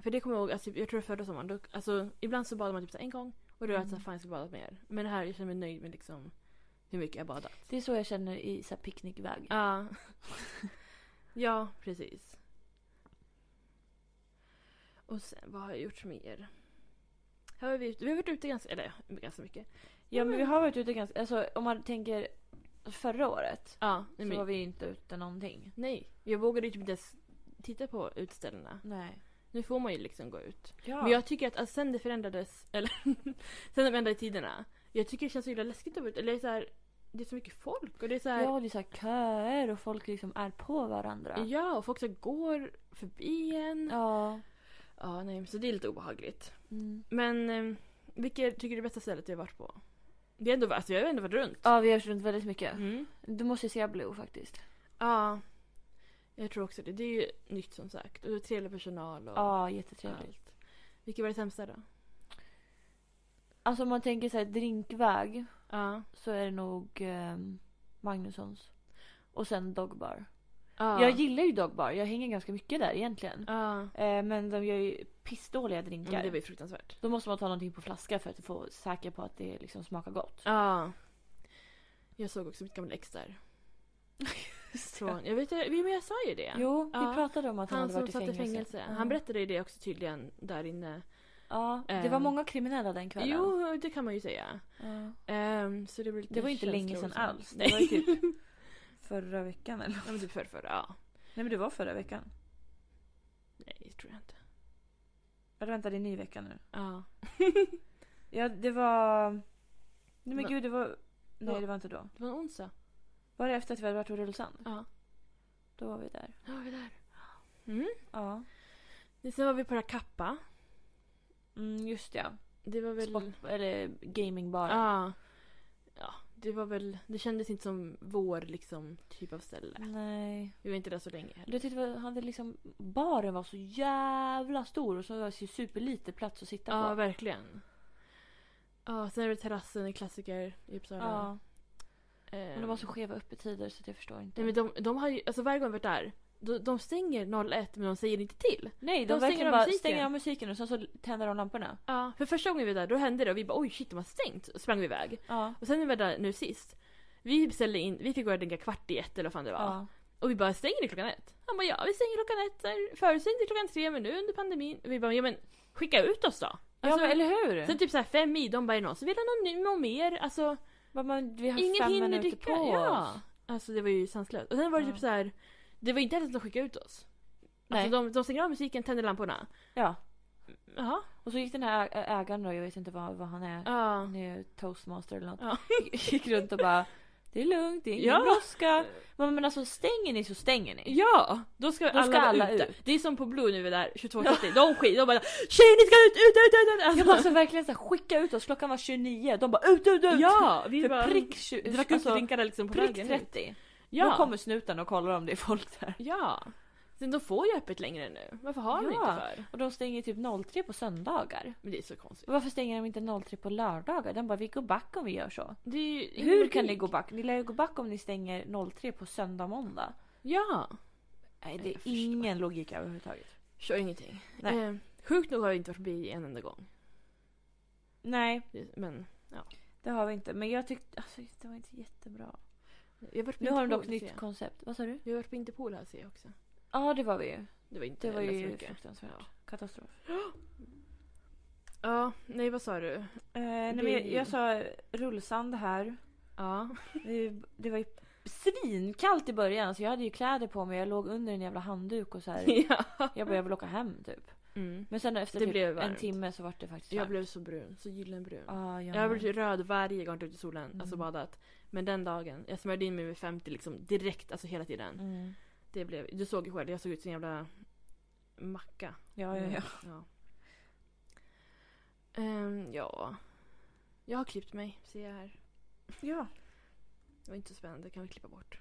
S1: för det kommer jag ihåg, alltså, jag tror förra sommaren, då, alltså, ibland så badar man typ så här en gång och då är det
S2: Mm.
S1: såhär, fan jag ska bada mer. Men det här, jag känner mig nöjd med liksom hur mycket jag badat.
S2: Det är så jag känner i så här picknickväg.
S1: Ja. ja, precis. Och sen, vad har jag gjort mer? Här har vi, vi har varit ute ganska, eller ja, ganska mycket.
S2: Ja men vi har varit ute ganska, alltså om man tänker förra året
S1: Ja, nej,
S2: så var
S1: men,
S2: vi ju inte ute någonting.
S1: nej. Jag vågade ju typ inte ens titta på utställena.
S2: Nej.
S1: Nu får man ju liksom gå ut.
S2: Ja.
S1: Men jag tycker att alltså, sen det förändrades, eller sen de ändrade tiderna. Jag tycker det känns så himla läskigt att vara ute. Eller så här, det är så mycket folk och det är så här,
S2: Ja, det är så här köer och folk liksom är på varandra.
S1: Ja, och folk så går förbi en. Ja,
S2: Ja.
S1: nej, men så det är lite obehagligt.
S2: Mm.
S1: Men eh, vilket tycker du är bästa stället du har varit på? Det är ändå, alltså, jag har ändå varit runt.
S2: ja, vi har runt väldigt mycket.
S1: Mm.
S2: Du måste ju se Blue faktiskt.
S1: Ja, jag tror också det. Det är ju nytt som sagt. Och det är trevlig personal och
S2: Ja, jättetrevligt.
S1: allt. Vilket var det sämsta då?
S2: Alltså om man tänker så här drinkväg
S1: Ja.
S2: så är det nog ehm, Magnussons. Och sen Dogbar.
S1: ja.
S2: Jag gillar ju Dogbar, jag hänger ganska mycket där egentligen.
S1: Ja.
S2: Eh, men de gör ju pissdåliga
S1: Men
S2: drinkar.
S1: det var ju fruktansvärt.
S2: Då måste man ta någonting på flaska för att få säker på att det liksom smakar gott.
S1: Ja. Jag såg också mitt gamla ex där. Från, jag vet inte- men jag sa ju det.
S2: Jo, vi
S1: Ja.
S2: pratade om att han,
S1: Han
S2: hade
S1: som
S2: varit i
S1: satt i
S2: fängelse. Mm.
S1: fängelse.
S2: Ja.
S1: Han berättade ju det också tydligen där inne.
S2: Ja, det
S1: Eh.
S2: var många kriminella den kvällen.
S1: Jo, det kan man ju säga.
S2: Ja.
S1: Ehm, så det, blir lite
S2: Det var ju inte länge
S1: känslor
S2: sedan
S1: och sånt.
S2: alls. Det
S1: Nej.
S2: var ju typ förra veckan eller?
S1: Ja, men typ förra, förra. Ja.
S2: Nej men det var förra veckan.
S1: Nej, det tror jag inte.
S2: Eller vänta, det är ny vecka nu.
S1: Ja.
S2: Ja, det var... Nej men
S1: Va-
S2: gud, det var... Nej,
S1: Va-
S2: det var inte då.
S1: Det var en onsdag.
S2: Var det efter att vi hade varit på Rullsand?
S1: Ja.
S2: Då var vi där.
S1: Då var vi där. Mm.
S2: Ja.
S1: Sen var vi på Kappa.
S2: Mm, just det.
S1: Det var väl...
S2: Spot, eller gamingbaren.
S1: Ja. Ja, det var väl... Det kändes inte som vår liksom typ av ställe.
S2: Nej.
S1: Vi var inte där så länge heller.
S2: Jag tyckte vi hade liksom... Baren var så jävla stor och så var det ju superlite plats att sitta
S1: Ja,
S2: på.
S1: verkligen. Ja, sen är det terrassen, en klassiker i Uppsala.
S2: Ja.
S1: Ehm,
S2: Men de var så skeva öppettider så att jag förstår inte.
S1: Nej men de, de har ju, alltså varje gång vi varit där, de, de stänger 01 men de säger inte till.
S2: Nej, de,
S1: de
S2: verkligen
S1: stänger av
S2: bara
S1: musiken.
S2: stänger av musiken och sen så tänder de lamporna.
S1: Ja. För första gången vi var där, då hände det och vi bara oj shit de har stängt, och sprang vi iväg.
S2: Ja.
S1: Och sen när vi var där nu sist, vi beställde in, vi fick börja dricka kvart i ett eller vad fan det var.
S2: Ja.
S1: Och vi bara stänger ni klockan ett? Han bara ja vi stänger klockan ett, där. förut stängde vi klockan tre men nu under pandemin. Och vi bara ja men skicka ut oss då.
S2: Ja,
S1: Alltså,
S2: men, eller hur?
S1: Sen typ såhär fem i, de bara är det någon som vill ha någon, ny- någon mer? Alltså
S2: Bara, man, vi har
S1: Ingen
S2: fem
S1: hinner
S2: minuter
S1: dricka.
S2: på
S1: ja.
S2: oss.
S1: Alltså det var ju sanslöst. Och sen var det
S2: Ja.
S1: typ så här. Det var inte ens att de skickade ut oss.
S2: Nej.
S1: Alltså de, de stänger av musiken, tänder lamporna.
S2: Ja.
S1: Jaha.
S2: Och så gick den här ä- ägaren då, jag vet inte vad, vad han är.
S1: Ja.
S2: Han är ju toastmaster eller något.
S1: Ja.
S2: Gick runt och bara Det är lugnt, det är ingen
S1: Ja.
S2: brådska. Men, men alltså stänger ni så stänger ni.
S1: Ja! Då ska,
S2: Då ska
S1: alla,
S2: alla
S1: ut.
S2: ut.
S1: Det är som på Blue nu vi är där 22.30. De skit, de bara Tjejer ni ska ut, ut, ut, ut! ut!
S2: Jag bara alltså, verkligen så här, skicka ut oss, klockan var 29. De bara ut, ut, ut!
S1: ja! Vi
S2: För
S1: bara
S2: prick, tju-
S1: drack upp
S2: alltså,
S1: drinkarna liksom på
S2: prick
S1: vägen ut.
S2: 30.
S1: Ja.
S2: Då kommer snuten och kollar om det är folk där.
S1: Ja. Sen de får ju öppet längre nu. Varför har
S2: Ja.
S1: de inte för?
S2: Och de stänger typ 03 på söndagar.
S1: Men det är så konstigt.
S2: Varför stänger de inte 03 på lördagar? Den bara vi går back om vi gör så.
S1: Det är ju ingen
S2: Hur kan ni
S1: logik.
S2: gå back? Ni lär ju gå back om ni stänger 03 på söndag och måndag.
S1: Ja.
S2: Nej
S1: Jag
S2: det är
S1: förstår.
S2: ingen logik överhuvudtaget.
S1: Kör ingenting.
S2: Nej.
S1: Eh, sjukt nog har jag inte varit förbi en enda gång.
S2: Nej
S1: Det- Men
S2: det har vi inte. Men jag tyckte alltså, det var inte jättebra.
S1: Jag har varit på
S2: Nu har de
S1: Interpol,
S2: dock
S1: ser
S2: nytt
S1: jag.
S2: koncept. Vad sa du?
S1: Jag har varit på Interpol här ser jag också.
S2: Ja det var vi ju.
S1: Det var inte
S2: Det var
S1: heller så
S2: ju
S1: mycket.
S2: fruktansvärt.
S1: Ja.
S2: Katastrof.
S1: Ja, nej vad sa du?
S2: Eh, nej, men
S1: Det är
S2: jag,
S1: ju-
S2: jag sa rullsand här.
S1: Ja.
S2: Det, det var ju svinkallt i början. Så jag hade ju kläder på mig. Jag låg under en jävla handduk och så här.
S1: ja.
S2: Jag bara jag vill åka hem typ.
S1: Mm.
S2: Men sen efter
S1: Det
S2: typ
S1: blev
S2: en
S1: varmt.
S2: timme så var det faktiskt
S1: Jag
S2: varmt.
S1: blev så brun, så gyllenbrun.
S2: Ja, jag,
S1: Jag typ- har
S2: med.
S1: blivit röd varje gång jag varit ute i solen, alltså
S2: Mm.
S1: badat. Men den dagen, jag smörjde in mig med 50 liksom direkt, alltså hela tiden.
S2: Mm.
S1: Det blev, du såg ju själv, jag såg ut som en jävla macka.
S2: Ja, ja, ja.
S1: Mm, ja. Ehm, ja. Jag har klippt mig, ser jag här.
S2: ja.
S1: Det var inte så spännande, det kan vi klippa bort.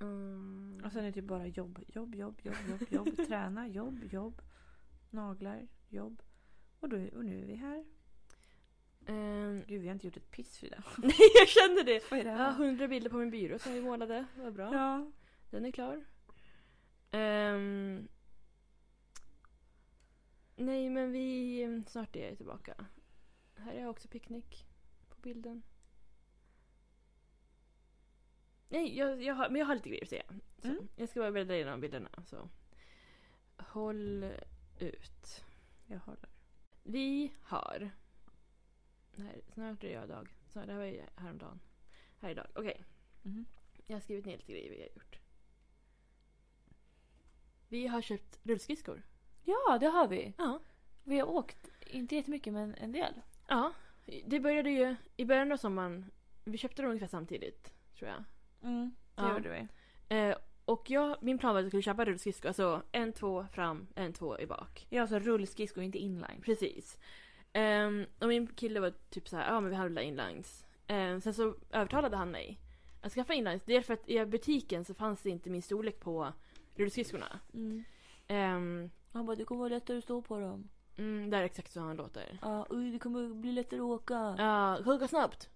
S1: Mm.
S2: Och sen är det typ bara jobb, jobb, jobb, jobb, jobb, jobb. Träna, jobb, jobb. Naglar, jobb. Och, då, och nu är vi här.
S1: Ehm,
S2: Gud, vi har inte gjort ett piss Frida.
S1: Nej jag kände det!
S2: Vad är det
S1: Jag
S2: här?
S1: har hundra bilder på min byrå som vi målade, vad bra.
S2: Ja.
S1: Den är klar. Ehm, nej men vi, snart är jag tillbaka. Här är jag också picknick på bilden. Nej, jag, jag har, men jag har lite grejer att säga. Så,
S2: Mm.
S1: Jag ska bara bläddra igenom bilderna. Så. Håll ut.
S2: Jag håller.
S1: Vi har... Nej, snart är jag dag. Så det här var ju häromdagen. Här idag. Okej.
S2: Mhm.
S1: Jag har skrivit ner lite grejer vi har gjort. Vi har köpt rullskridskor.
S2: Ja, det har vi.
S1: Ja.
S2: Vi har åkt, inte jättemycket men en del.
S1: Ja. Det började ju i början av sommaren. Vi köpte dem ungefär samtidigt, tror jag.
S2: Mm, det
S1: Ja.
S2: gjorde vi.
S1: Eh, och jag, min plan var att jag skulle köpa rullskridskor. Alltså en, två fram, en, två i bak.
S2: Jag sa rullskridskor, inte inline.
S1: Precis. Ehm, och min kille var typ så här, ja men vi handlar inlines. Ehm, sen så övertalade han mig att skaffa inlines. Det är för att i butiken så fanns det inte min storlek på rullskridskorna.
S2: Mm.
S1: Ehm,
S2: Han bara, det kommer vara lättare att stå på dem.
S1: mm, det är exakt så han låter.
S2: Ja, oj, det kommer bli lättare att åka. Ja.
S1: Ja, hugga snabbt!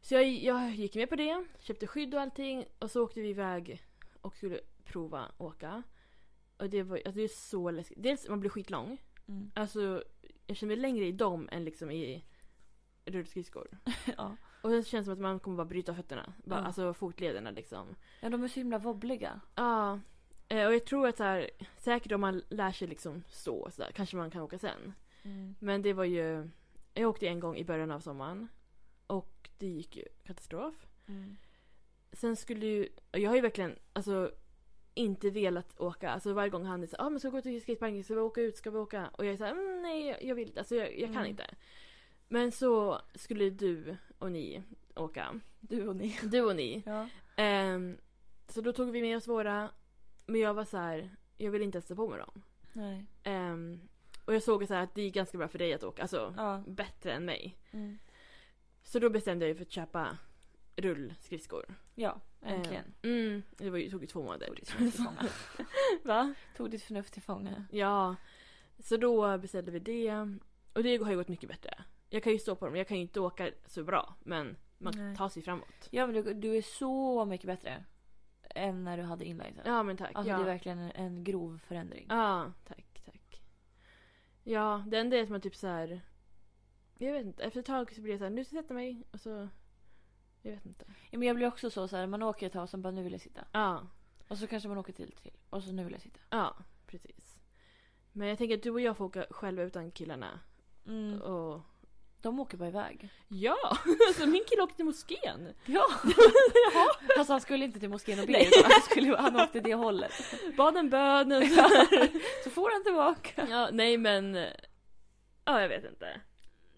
S1: Så jag, jag gick med på det, köpte skydd och allting och så åkte vi iväg och skulle prova åka. Och det var alltså det är så läskigt. Dels man blir skitlång.
S2: Mm.
S1: Alltså jag känner mig längre i dem än liksom i rullskridskor.
S2: ja.
S1: Och sen känns det som att man kommer bara bryta fötterna. Bara,
S2: Ja.
S1: Alltså fotlederna liksom.
S2: Ja, de är så himla wobbliga.
S1: Ja. Eh, Och jag tror att så här, säkert om man lär sig liksom stå och så där, kanske man kan åka sen.
S2: Mm.
S1: Men det var ju... Jag åkte en gång i början av sommaren. Och det gick ju katastrof.
S2: Mm.
S1: Sen skulle ju... Jag har ju verkligen alltså, inte velat åka. Alltså varje gång han är så ah, men ska vi gå till skateparken? Ska vi åka ut? Ska vi åka? Och jag är såhär, mm, nej jag- jag vill inte. Alltså jag, jag kan
S2: Mm.
S1: inte. Men så skulle du och ni åka.
S2: Du och ni.
S1: Du och ni.
S2: Ja.
S1: Ehm, så då tog vi med oss våra. Men jag var så här, jag vill inte ens ta på mig dem.
S2: Nej.
S1: Ehm, och jag såg så här att det är ganska bra för dig att åka. Alltså
S2: Ja.
S1: bättre än mig.
S2: Mm.
S1: Så då bestämde jag mig för att köpa rullskridskor.
S2: Ja,
S1: Ehm,
S2: äntligen.
S1: Mm, det var ju, tog ju två månader.
S2: Eh, Tog ditt förnuft till fånga.
S1: Va?
S2: Tog ditt förnuft till fånga.
S1: Ja. Så då beställde vi det. Och det har ju gått mycket bättre. Jag kan ju stå på dem, jag kan ju inte åka så bra. Men man
S2: Nej.
S1: tar sig framåt.
S2: Ja, men du, du är så mycket bättre än när du hade inlinen.
S1: Ja men tack.
S2: Alltså
S1: ja.
S2: det är verkligen en, en grov förändring.
S1: Ja, tack, tack. Ja, det enda är att man typ så här. Jag vet inte, efter ett tag så blir jag så här, nu ska jag sätta mig och så... Jag vet inte.
S2: Ja, men jag blir också så, så här, man åker ett tag och sen bara nu vill jag sitta.
S1: Ja,
S2: Och så kanske man åker till till och så nu vill jag sitta.
S1: ja, precis. Men jag tänker att du och jag får åka själva utan killarna. Och...
S2: De åker bara iväg.
S1: Mm. Ja! Alltså min kille åkte till moskén.
S2: Ja! Jaha. Fast han skulle inte till moskén och be utan han, skulle, han åkte det hållet.
S1: Bad en bön. och så-
S2: Så får han tillbaka.
S1: Ja, nej men... Ja, jag vet inte.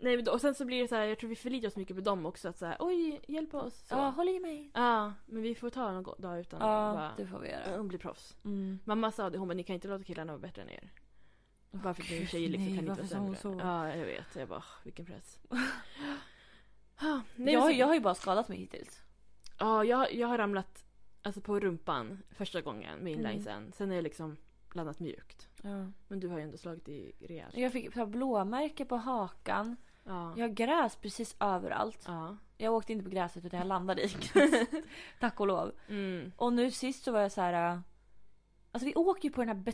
S1: Nej, men då- och sen så blir det så här, jag tror vi förlitar oss mycket på dem också. Att så här, oj, hjälp oss. Så.
S2: Ja, håll i mig.
S1: Ja, men vi får ta någon dag utan dem,
S2: Ja, typ
S1: bara-
S2: det får vi göra.
S1: Hon blir proffs.
S2: Mm.
S1: Mamma sa det, hon bara ni kan inte låta killarna vara bättre än er.
S2: Åh,
S1: Bara för att ni
S2: gud,
S1: tjejer liksom
S2: nej,
S1: kan
S2: varför
S1: inte vara
S2: sa hon
S1: sämre.
S2: så?
S1: Ja, jag vet. Jag bara, "Åh, vilken press. Ah, Nej,
S2: jag,
S1: men så-
S2: jag har ju bara skadat mig hittills.
S1: Ja, jag, jag har ramlat alltså, på rumpan första gången med
S2: Mm.
S1: inlinesen. Sen är jag liksom landat mjukt. Men du har ju ändå slagit i rejält.
S2: Jag fick så här blåmärke på hakan.
S1: Ja.
S2: Jag har gräs precis överallt.
S1: ja.
S2: Jag åkte inte på gräset utan jag landade i Tack och lov.
S1: Mm.
S2: Och nu sist så var jag så här. äh, Alltså vi åker ju på den här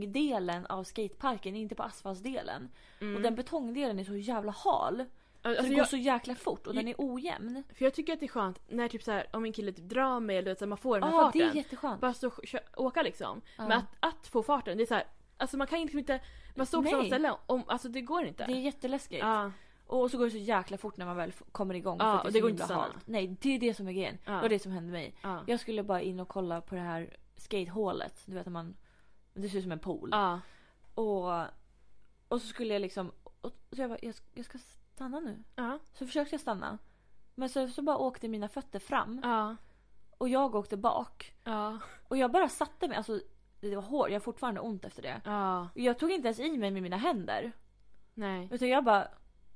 S2: betongdelen av skateparken, inte på asfaltsdelen.
S1: Mm.
S2: Och den betongdelen är så jävla hal. Så
S1: alltså,
S2: det går
S1: jag,
S2: så jäkla fort och den är ojämn.
S1: för jag tycker att det är skönt när typ så här, om min kille typ drar mig eller du vet, så här, man får den här
S2: Ja, Ah, det
S1: farten.
S2: är jätteskönt. Ah.
S1: Bara stå och kö- åka liksom.
S2: Ja.
S1: Men att, att få farten, det är så här, alltså man kan ju liksom inte, man står på
S2: Nej.
S1: samma ställe, om, alltså det går inte.
S2: Det är jätteläskigt.
S1: ja.
S2: Och så går det så jäkla fort när man väl f- kommer igång.
S1: Ja,
S2: för att
S1: Ah. och
S2: så
S1: det går
S2: himla
S1: inte Ah. att stanna.
S2: halt. Nej, det är det som är grejen.
S1: Ja.
S2: Det var det som hände mig.
S1: Ja.
S2: Jag skulle bara in och kolla på det här skatehålet. Du vet när man... Det ser ut som en pool.
S1: ja.
S2: Och, och så skulle jag liksom... Och, så jag bara, jag, jag ska stanna nu.
S1: Ja.
S2: Så försökte jag stanna. Men så, så bara åkte mina fötter fram.
S1: Ja.
S2: Och jag åkte bak.
S1: Ja.
S2: Och jag bara satte mig. Alltså det var hårt. Jag har fortfarande ont efter det.
S1: Ja.
S2: Och Jag tog inte ens i mig med mina händer.
S1: Nej.
S2: Utan jag bara...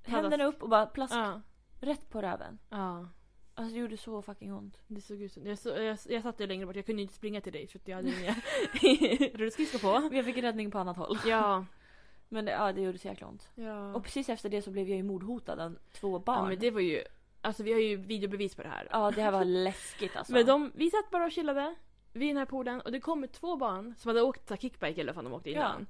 S2: Händerna upp och bara plask.
S1: Ja.
S2: Rätt på röven.
S1: Ja.
S2: Alltså det gjorde så fucking ont.
S1: Det såg ut som... Jag, så, jag, jag satt ju längre bort, jag kunde ju inte springa till dig för att jag hade inga rullskridskor på.
S2: Men Jag fick räddning på annat håll.
S1: Ja.
S2: Men det, ja, det gjorde så jäkla ont.
S1: Ja.
S2: Och precis efter det så blev jag ju mordhotad av två barn.
S1: ja men det var ju... Alltså vi har ju videobevis på det här. Alltså.
S2: här var läskigt alltså.
S1: Men de, vi satt bara och chillade vid den här poolen och det kommer två barn som hade åkt så här kickbike eller vad fan de åkte innan.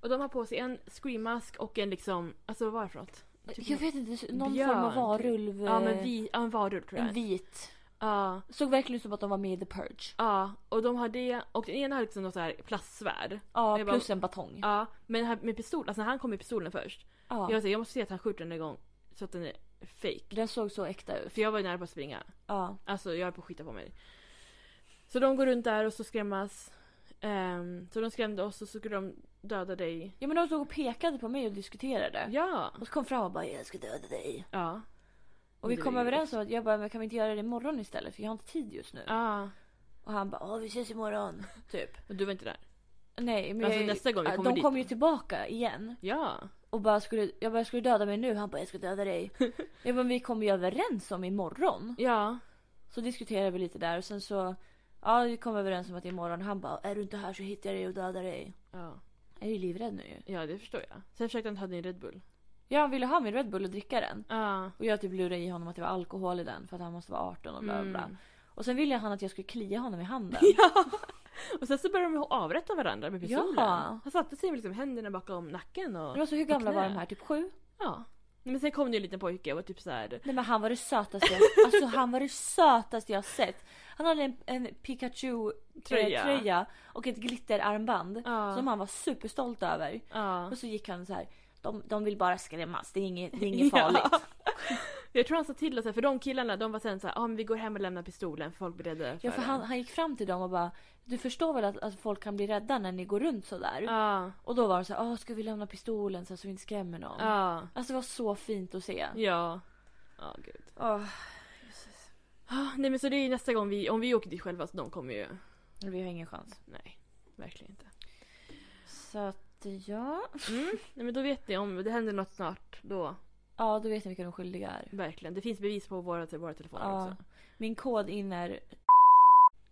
S1: Och de har på sig en screammask och en liksom, alltså vad är det för något? Typ
S2: jag vet inte, någon
S1: björn,
S2: form av
S1: typ.
S2: varulv. eh,
S1: Ja men vi, ja, en varulv tror
S2: En
S1: jag.
S2: vit.
S1: Ja,
S2: Såg verkligen ut som att de var med i The Purge.
S1: ja. Och de har det och den ena har liksom något så här plastsvärd.
S2: Ja,
S1: Jag bara-
S2: plus en batong.
S1: Ja, men här med pistol, alltså han kom med pistolen först.
S2: Ja.
S1: Jag, säger, jag måste se att han skjuter den igång så att den är fake.
S2: Den såg så äkta ut.
S1: För jag var ju nära på att springa.
S2: Ja.
S1: Alltså jag är på att skita på mig. Så de går runt där och så skrämmas. Ehm, så de skrämde oss och så skulle de döda dig.
S2: ja men de stod och pekade på mig och diskuterade.
S1: Ja!
S2: Och så kom fram och bara jag ska döda dig.
S1: Ja.
S2: Och vi
S1: Det
S2: kom
S1: var ju-
S2: överens om att jag bara men kan vi inte göra det imorgon istället för jag har inte tid just nu.
S1: Ja.
S2: Och han bara ja vi ses imorgon. Typ.
S1: Och du var inte där.
S2: Nej men
S1: Alltså,
S2: jag,
S1: nästa gång vi
S2: ja,
S1: kommer
S2: De
S1: dit.
S2: kommer ju tillbaka igen.
S1: Ja.
S2: Och bara skulle, jag bara skulle du döda mig nu. Han bara jag ska döda dig. jag bara vi kommer ju överens om imorgon.
S1: Ja.
S2: Så diskuterade vi lite där och sen så Ja vi kom överens om att imorgon han bara är du inte här så hittar jag dig och dödar dig.
S1: Ja.
S2: Jag är ju livrädd nu ju.
S1: Ja, det förstår jag. Sen försökte han ta din Red Bull.
S2: Ja han ville ha min Red Bull och dricka den.
S1: Ja.
S2: Och jag typ lurade i honom att det var alkohol i den för att han måste vara 18 och bla bla. bla.
S1: Mm.
S2: Och sen ville han att jag skulle klia honom i handen.
S1: Ja! Och sen så började de avrätta varandra med pistolen.
S2: Ja.
S1: Han satte sig med liksom händerna bakom nacken och...
S2: Men så hur gamla
S1: knä.
S2: var de här? Typ sju?
S1: Ja. Nej, Men sen kom det ju en liten pojke och var typ så här.
S2: Nej men han var det sötaste jag, alltså, han var det sötaste jag sett. Han hade en, en Pikachu-tröja
S1: Tröja.
S2: tröja och ett glitterarmband
S1: Ja.
S2: som han var superstolt över.
S1: Ja.
S2: Och så gick han så här. De, de vill bara skrämmas, det är inget, det är inget farligt.
S1: Jag tror han sa till oss, för de killarna de var sen så här, ah, men vi går hem och lämnar pistolen för folk blir rädda för
S2: Ja, för han, han gick fram till dem och bara Du förstår väl att, att folk kan bli rädda när ni går runt sådär?
S1: den." Ja.
S2: Och då var de så här, "Åh, ska vi lämna pistolen så här så vi inte skrämmer någon?
S1: Ja.
S2: Alltså det var så fint att se.
S1: Ja. Ja, gud.
S2: Åh,
S1: Ah, nej men så det är ju nästa gång vi, om vi åker dit själva så de kommer ju,
S2: vi har ingen chans.
S1: nej. Verkligen inte.
S2: Så att ja.
S1: Mm. nej men då vet ni om det händer något snart då,
S2: Ja, då vet ni vilka de skyldiga är.
S1: verkligen. Det finns bevis på våra, våra telefoner
S2: Ja.
S1: också.
S2: Min kod in är...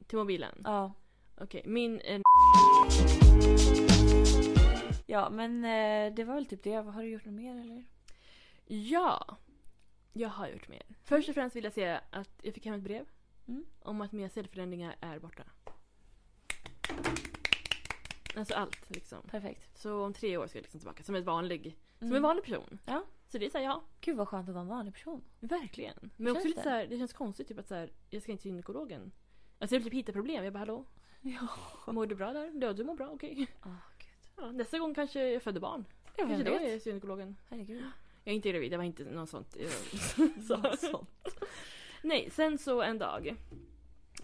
S1: Till mobilen.
S2: Ja.
S1: Okej, min eh, är
S2: Ja, men eh, det var väl typ det. Har du gjort något mer eller?
S1: Ja, jag har gjort mer. Först och främst vill jag säga att jag fick hem ett brev
S2: Mm.
S1: om att mina cellförändringar är borta. Alltså allt liksom.
S2: Perfekt.
S1: Så om tre år ska jag liksom tillbaka som, ett vanlig, som
S2: Mm.
S1: en vanlig person.
S2: Ja.
S1: Så det är såhär, ja.
S2: Gud vad skönt att vara en vanlig person.
S1: Verkligen. Men
S2: känns
S1: också lite
S2: det?
S1: såhär, det känns konstigt typ att såhär, jag ska inte till gynekologen. Alltså jag vill typ hitta problem. Jag bara hallå?
S2: Ja.
S1: Mår du bra där? Ja, du mår bra, okej.
S2: Oh, gud.
S1: Ja, nästa gång kanske jag föder barn.
S2: Ja,
S1: Kanske
S2: vem
S1: då är
S2: vet?
S1: jag till gynekologen.
S2: Herregud.
S1: Jag är inte gravid, det var inte något sånt. eh,
S2: Något
S1: så. Nej, sen så en dag.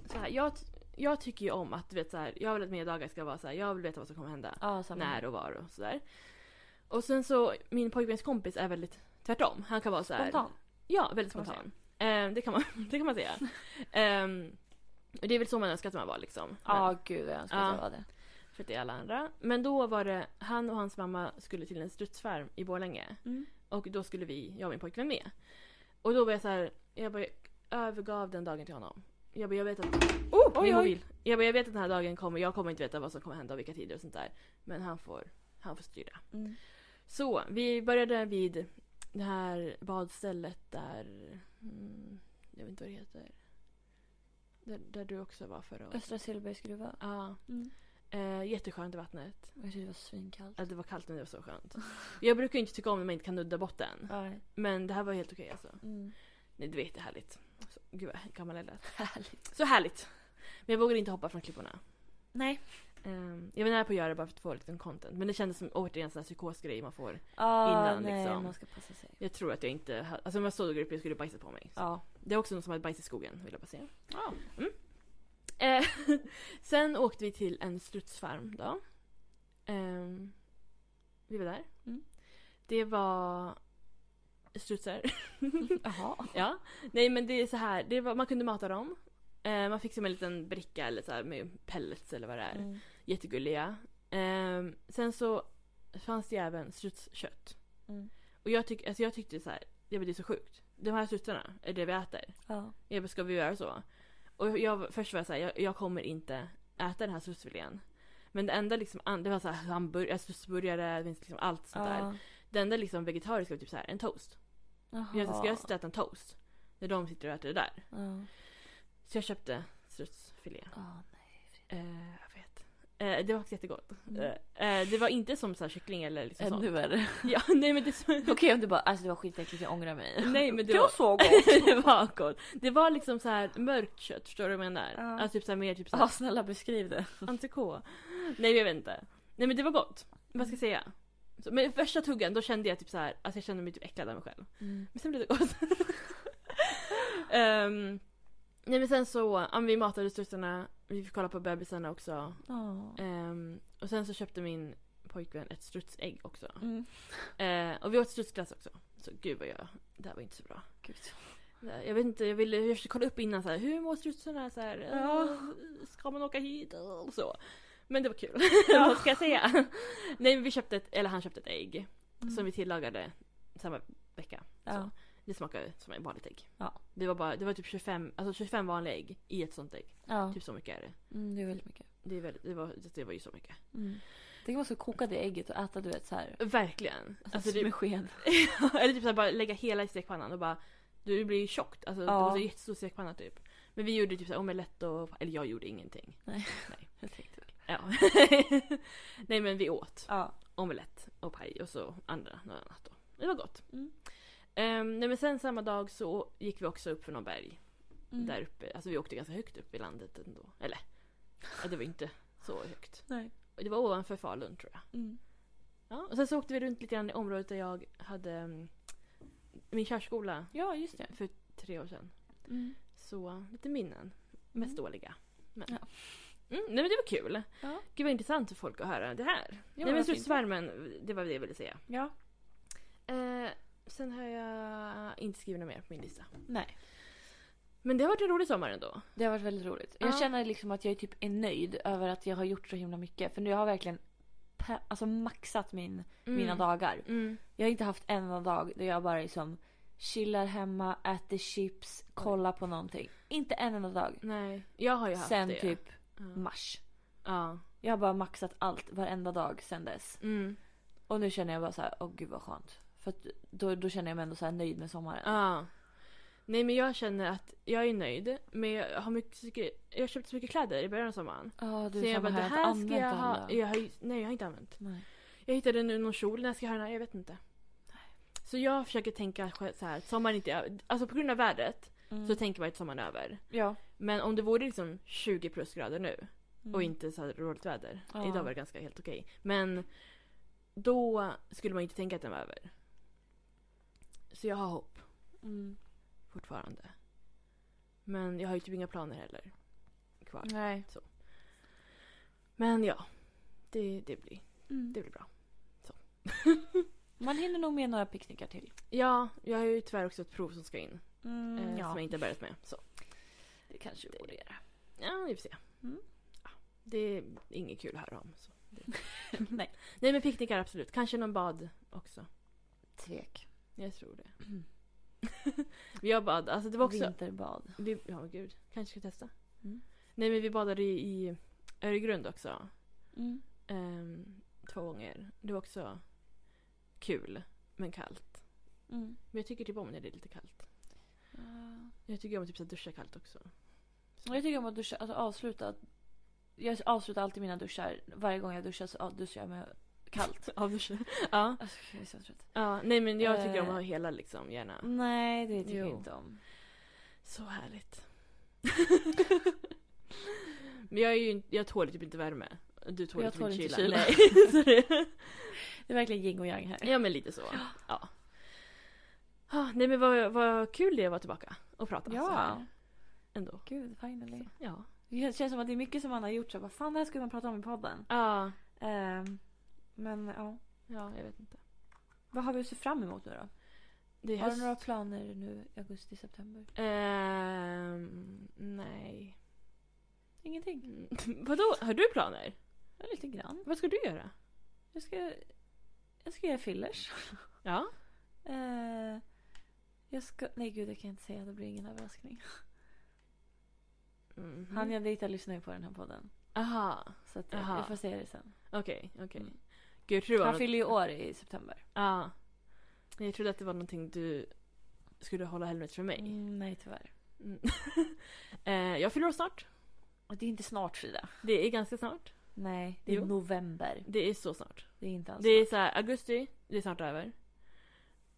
S1: Så här, jag, jag tycker ju om att du vet, så här, jag vill att mina dagar ska vara så här, jag vill veta vad som kommer hända.
S2: Ja, samma.
S1: När och var och sådär. Och sen så, min pojkväns kompis är väldigt tvärtom. Han kan vara så här.
S2: Spontan.
S1: Ja, väldigt
S2: Kan man
S1: spontan. Eh, det, kan man, det kan man säga. Ehm, och det är väl så man önskar att man var liksom.
S2: Ja,
S1: Men-
S2: gud vad jag önskar
S1: Ja.
S2: att jag var det.
S1: För att det är alla andra. Men då var det, han och hans mamma skulle till en strutsfarm i Borlänge.
S2: Mm.
S1: Och då skulle vi, jag och min pojkvän med. Och då var jag så här, jag bara, jag övergav den dagen till honom. Jag bara, jag vet att... Oh,
S2: oj, oj.
S1: min mobil! Jag bara, jag vet att den här dagen kommer, jag kommer inte veta vad som kommer hända och vilka tider och sånt där. Men han får, han får styra.
S2: Mm.
S1: Så, vi började vid det här badstället där... Mm, jag vet inte vad det heter. Där, där du också var förra året.
S2: Östra Silbergs gruva.
S1: Ja.
S2: Mm.
S1: Eh, jätteskönt i vattnet.
S2: Jag tyckte det var svinkallt.
S1: Ja, det var kallt men det var så skönt. Jag brukar ju inte tycka om när man inte kan nudda botten.
S2: Ja.
S1: Men det här var helt okej alltså.
S2: Mm.
S1: Nej, det var jättehärligt. Så, gud vad gammal jag lät.
S2: Härligt.
S1: Så härligt! Men jag vågade inte hoppa från klipporna.
S2: Nej.
S1: Ehm, jag var nära på att göra det bara för att få lite content. Men det kändes som återigen en sån här psykosgrej man får.
S2: Ah,
S1: Innan,
S2: nej,
S1: liksom.
S2: man ska passa sig.
S1: Jag tror att jag inte... ha- Alltså om jag stod och grep jag skulle bajsa på mig.
S2: Ja.
S1: Det är också någon som hade bajs i skogen vill jag bara säga. Mm. Eh, sen åkte vi till en strutsfarm då. Ehm, vi var där.
S2: Mm.
S1: Det var strutsar.
S2: Jaha.
S1: Ja. Nej men det är så här, det var, man kunde mata dem. Eh, man fick som en liten bricka eller så här med pellets eller vad det är.
S2: Mm.
S1: Jättegulliga. Ehm, sen så fanns det ju även strutskött.
S2: Mm.
S1: Och jag, tyck, alltså jag tyckte så här, jag bara, det är så sjukt. De här strutsarna är det vi äter.
S2: Ja.
S1: Jag bara, ska vi göra så? Och jag, först var jag såhär, jag, jag kommer inte äta den här strutsfilén. Men det enda liksom, an- det var såhär hamburgare, strutsburgare, alltså det finns liksom allt sånt där.
S2: Ja.
S1: Det enda liksom vegetariska var typ såhär, en toast. Jag sa, ska jag sitta och äta en toast? När de sitter och äter det där.
S2: Ja.
S1: Så jag köpte strutsfilé.
S2: Ja, nej.
S1: Eh, jag vet. Eh, det var faktiskt jättegott.
S2: Mm.
S1: Eh, eh, det var inte som såhär kyckling eller liksom sånt.
S2: Ännu värre.
S1: Ja, nej men det, så-
S2: Okej om du bara, alltså det var skitäckligt, jag ångrar mig.
S1: Nej, men det
S2: var
S1: var-
S2: så gott.
S1: det var gott. Det var liksom så här mörkt kött, förstår du vad jag menar?
S2: Ja.
S1: Alltså typ såhär mer typ såhär
S2: Ja snälla beskriv det.
S1: Entrecote. Nej jag vet inte. Nej men det var gott. Vad ska jag säga? Så, men första tuggan då kände jag typ så här, alltså jag kände mig typ äcklad av mig själv.
S2: Mm.
S1: Men sen blev det gott. Ehm, nej men sen så, ja, men vi matade strutsarna, vi fick kolla på bebisarna också.
S2: Ja.
S1: Ehm, och sen så köpte min pojkvän ett strutsägg också.
S2: Mm.
S1: Ehm, och vi åt strutsglass också. Så gud vad jag, det här var inte så bra.
S2: Gud.
S1: Jag vet inte, jag ville, jag försökte kolla upp innan så här, hur mår strutsarna? Så här,
S2: Ja.
S1: "Eh, Ska man åka hit? Och så. Men det var kul, vad ska jag säga? Nej men vi köpte ett, eller han köpte ett ägg. Som vi tillagade samma vecka.
S2: Mm. Ja.
S1: Det smakade som ett vanligt ägg.
S2: Ja.
S1: Det var, bara, det var typ 25, alltså 25 vanliga ägg i ett sånt ägg.
S2: ja.
S1: Typ så mycket är det.
S2: Mm, det är väldigt mycket.
S1: Det, är väldigt, det, var, det var ju så mycket.
S2: Mm. Tänk om man skulle koka det ägget och äta du vet så här.
S1: Verkligen. Alltså,
S2: Alltså,
S1: det,
S2: med sked.
S1: eller typ såhär bara lägga hela i stekpannan och bara Du blir ju tjockt, alltså det
S2: Ja.
S1: var så jättestor stekpanna typ. Men vi gjorde typ såhär omelett och, eller jag gjorde ingenting.
S2: Jag tänkte väl.
S1: Ja. Nej men vi åt
S2: Ja.
S1: omelett och paj och så andra, något annat då. Det var gott.
S2: Mm.
S1: Ehm, nej men sen samma dag så gick vi också upp för någon berg
S2: Mm.
S1: där uppe. Alltså vi åkte ganska högt upp i landet ändå. Eller, ja, det var inte så högt.
S2: Nej.
S1: Och Det var ovanför Falun tror jag.
S2: Mm.
S1: Ja, och sen så åkte vi runt lite grann i området där jag hade mm, min körskola
S2: Ja, just det.
S1: för tre år sedan.
S2: Mm.
S1: Så lite minnen. Mest
S2: Mm.
S1: dåliga. Men.
S2: Ja.
S1: Mm, nej men det var kul.
S2: Ja.
S1: Gud vad intressant för folk att höra det här.
S2: Ja,
S1: nej men
S2: vad
S1: så
S2: fint.
S1: svärmen, det var det jag ville säga.
S2: Ja.
S1: Eh, sen har jag inte skrivit något mer på min lista.
S2: Nej.
S1: Men det har varit en rolig sommar ändå.
S2: Det har varit väldigt roligt.
S1: Ja.
S2: Jag känner liksom att jag typ är nöjd över att jag har gjort så himla mycket. För nu har jag verkligen pe- alltså maxat min,
S1: Mm.
S2: mina dagar.
S1: Mm.
S2: Jag har inte haft en enda dag där jag bara liksom chillar hemma, äter chips, kollar på någonting. Inte en enda dag.
S1: Nej, jag har ju haft
S2: Sen
S1: det. Mm.
S2: typ
S1: Ja.
S2: mars.
S1: ja.
S2: Jag har bara maxat allt varenda dag sen dess.
S1: Mm.
S2: Och nu känner jag bara så här, åh gud vad skönt. För att då, då känner jag mig ändå så här nöjd med sommaren.
S1: Ja. Nej men jag känner att jag är nöjd. Men jag har mycket, mycket- jag har köpt så mycket kläder i början av sommaren.
S2: Ja, du
S1: så
S2: samma
S1: jag bara, det
S2: här,
S1: här
S2: jag
S1: ska
S2: inte
S1: jag
S2: använt
S1: ha.
S2: alla.
S1: Jag har, ju- nej jag har inte använt.
S2: Nej.
S1: Jag hittade nu någon kjol, när ska jag ha den här? Jag vet inte. Så jag försöker tänka själv så här, att sommaren inte är Alltså på grund av vädret
S2: Mm.
S1: så tänker man att sommaren är över.
S2: ja.
S1: Men om det vore liksom 20 plus grader nu och
S2: Mm.
S1: inte så här roligt väder.
S2: Ja.
S1: Idag var det ganska helt okej. Men då skulle man inte tänka att den var över. Så jag har hopp
S2: Mm.
S1: fortfarande. Men jag har ju typ inga planer heller kvar.
S2: Nej.
S1: Men ja, det, det, blir,
S2: Mm.
S1: det blir bra.
S2: Man hinner nog med några picknickar till.
S1: Ja, jag har ju tyvärr också ett prov som ska in. eh,
S2: Mm, ja.
S1: Som jag inte har börjat med. Så.
S2: Det kanske vi borde göra.
S1: Ja, vi får se.
S2: Mm.
S1: Ja, det är inget kul att höra om. Så.
S2: Nej.
S1: Nej men picknickar absolut. Kanske någon bad också.
S2: Tvek.
S1: Jag tror det. vi har bad, alltså det var också...
S2: Vinterbad.
S1: Vi, ja gud, kanske ska testa.
S2: Mm.
S1: Nej men vi badade i, i Öregrund också.
S2: Mm.
S1: Ehm, två gånger. Det var också kul, men kallt.
S2: Mm.
S1: Men jag tycker typ om när det är lite kallt.
S2: Eh.
S1: Jag tycker om typ att duscha kallt också.
S2: Och Jag tycker om att duscha, alltså avsluta. Jag avslutar alltid mina duschar. Varje gång jag duschar så av- duschar jag med kallt.
S1: Ja, duscha. ja.
S2: Alltså jag är så trött.
S1: ja. Nej men jag tycker om
S2: Eh.
S1: att ha hela liksom, gärna.
S2: Nej, det tycker jag
S1: Jo.
S2: inte om.
S1: Så härligt. Men jag, är ju, jag tål typ inte värme. Du tål
S2: Jag
S1: typ inte
S2: tål
S1: kyla.
S2: inte kyla.
S1: Nej. Så det-
S2: Det är verkligen yin och yang här.
S1: ja men lite så. Ja. Ah, nej men vad, vad kul det var att vara tillbaka och prata så här. Ändå.
S2: Gud, finally.
S1: Ja.
S2: Alltså. Det känns som att det är mycket som man har gjort. Så vad fan, det här skulle man prata om i podden.
S1: Ja,
S2: Ehm, men ja.
S1: ja jag vet inte.
S2: Vad har vi att se fram emot nu då?
S1: Det är
S2: Har
S1: höst.
S2: du några planer nu i augusti, september?
S1: Ehm, nej.
S2: Ingenting.
S1: Mm, Vadå, har du planer?
S2: Ja, lite grann.
S1: Vad ska du göra?
S2: Jag ska, jag ska göra fillers.
S1: Ja.
S2: Eh, jag ska... Nej gud, det kan jag inte säga. Det blir ingen överraskning.
S1: Mhm.
S2: Han jag dejtar lyssnar ju på den här podden.
S1: Aha,
S2: Så att jag,
S1: Aha.
S2: jag får säga det sen.
S1: okej, okej.
S2: Mm.
S1: Gud, tror
S2: Han fyller ju år i september.
S1: Ja. Nej, Jag trodde att det var någonting du skulle hålla hemligt för mig.
S2: Mm, nej tyvärr.
S1: Mm. eh, jag fyller år snart.
S2: Och det är inte snart Frida.
S1: Det är ganska snart.
S2: Nej, det är
S1: Jo.
S2: november.
S1: Det är så snart.
S2: Det är inte alls
S1: Det är så här, augusti, det är snart över.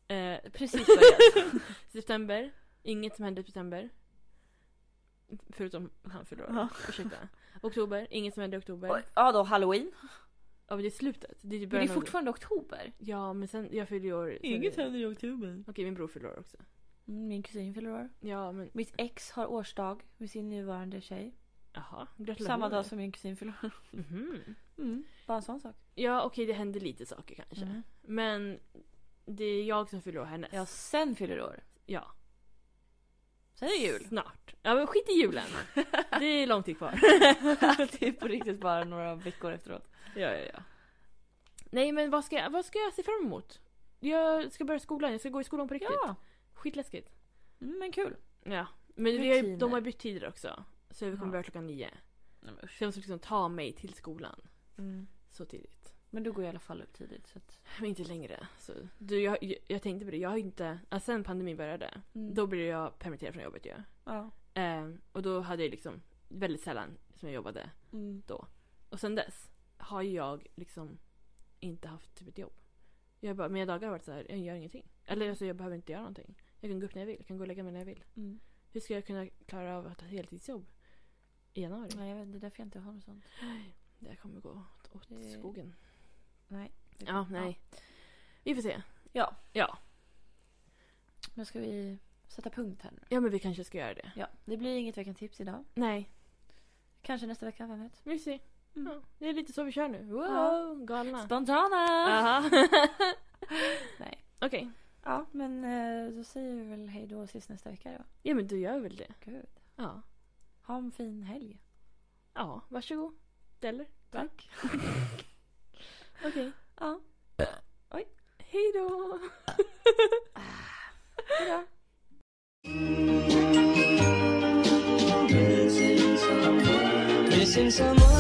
S1: Eh,
S2: snart. Precis börjat.
S1: september, inget som händer i september. Förutom han fyller år.
S2: Ja.
S1: Ursäkta. Oktober, inget som händer i oktober.
S2: Och- ja då, halloween.
S1: Ja men det är slutet. Det är ju
S2: Men
S1: början
S2: det är
S1: av-
S2: fortfarande oktober.
S1: Ja men sen, jag fyller ju år. sen-
S2: i oktober.
S1: Okej min bror fyller år också.
S2: Mm, Min kusin fyller år.
S1: Ja men
S2: Mitt ex har årsdag med sin nuvarande tjej.
S1: jaha. Gratulerar.
S2: Samma dag som min kusin fyller år.
S1: Mhm.
S2: Mm. Bara en sån sak.
S1: Ja okej det händer lite saker kanske. Men det är jag som fyller år härnäst.
S2: Mm. Ja, sen fyller år.
S1: Ja.
S2: Sen är det jul.
S1: Snart. Ja men skit i julen. det är lång tid kvar.
S2: det är på riktigt bara några veckor efteråt.
S1: Ja, ja, ja. Nej men vad ska, jag, vad ska jag se fram emot? Jag ska börja skolan, jag ska gå i skolan på riktigt.
S2: Ja,
S1: Skitläskigt.
S2: mm, men kul.
S1: Ja. Men vi har, ju-
S2: Rutiner.
S1: de har bytt tider också. Så vi kommer
S2: Ja.
S1: börja klockan nio.
S2: Nej, men, usch.
S1: Så jag måste liksom ta mig till skolan
S2: Mm.
S1: så tidigt.
S2: men du går i alla fall upp tidigt. Så att...
S1: Men inte längre. Så, du, jag, jag- jag tänkte på det, jag har inte... Alltså, sen pandemin började, då blev jag permitterad från jobbet ju.
S2: mm. Ja.
S1: Eh, och då hade jag liksom väldigt sällan som jag jobbade.
S2: Mm.
S1: Och sen dess har ju jag liksom inte haft typ ett jobb. Jag bara, mina dagar har varit så här, jag gör ingenting. Eller alltså jag behöver inte göra någonting. Jag kan gå upp när jag vill, jag kan gå och lägga mig när jag vill.
S2: Mm.
S1: Hur ska jag kunna klara av att ha ett heltidsjobb i januari?
S2: Nej, jag vet, det är därför jag inte har något sånt.
S1: Det kommer gå åt, åt
S2: Det-
S1: skogen.
S2: Nej.
S1: Eh, Ja, nej. Vi får se.
S2: Ja.
S1: Ja.
S2: Men ska vi sätta punkt här nu?
S1: Ja men vi kanske ska göra det.
S2: Ja, det blir inget veckans tips idag.
S1: Nej,
S2: Kanske nästa vecka, vem vet?
S1: vi får se.
S2: Mm.
S1: Ja, det är lite så vi kör nu. Wow,
S2: Ja.
S1: galna.
S2: Spontana!
S1: Aha.
S2: Nej.
S1: Okej.
S2: Ja, men eh, då säger vi väl hej då sist nästa vecka då.
S1: Ja men du gör väl det.
S2: Gud.
S1: Ja.
S2: Ha en fin helg.
S1: Ja, varsågod. Eller?
S2: Tack.
S1: Okej.
S2: Ja.
S1: Hej då!
S2: Ah, Hejdå.
S3: Missing someone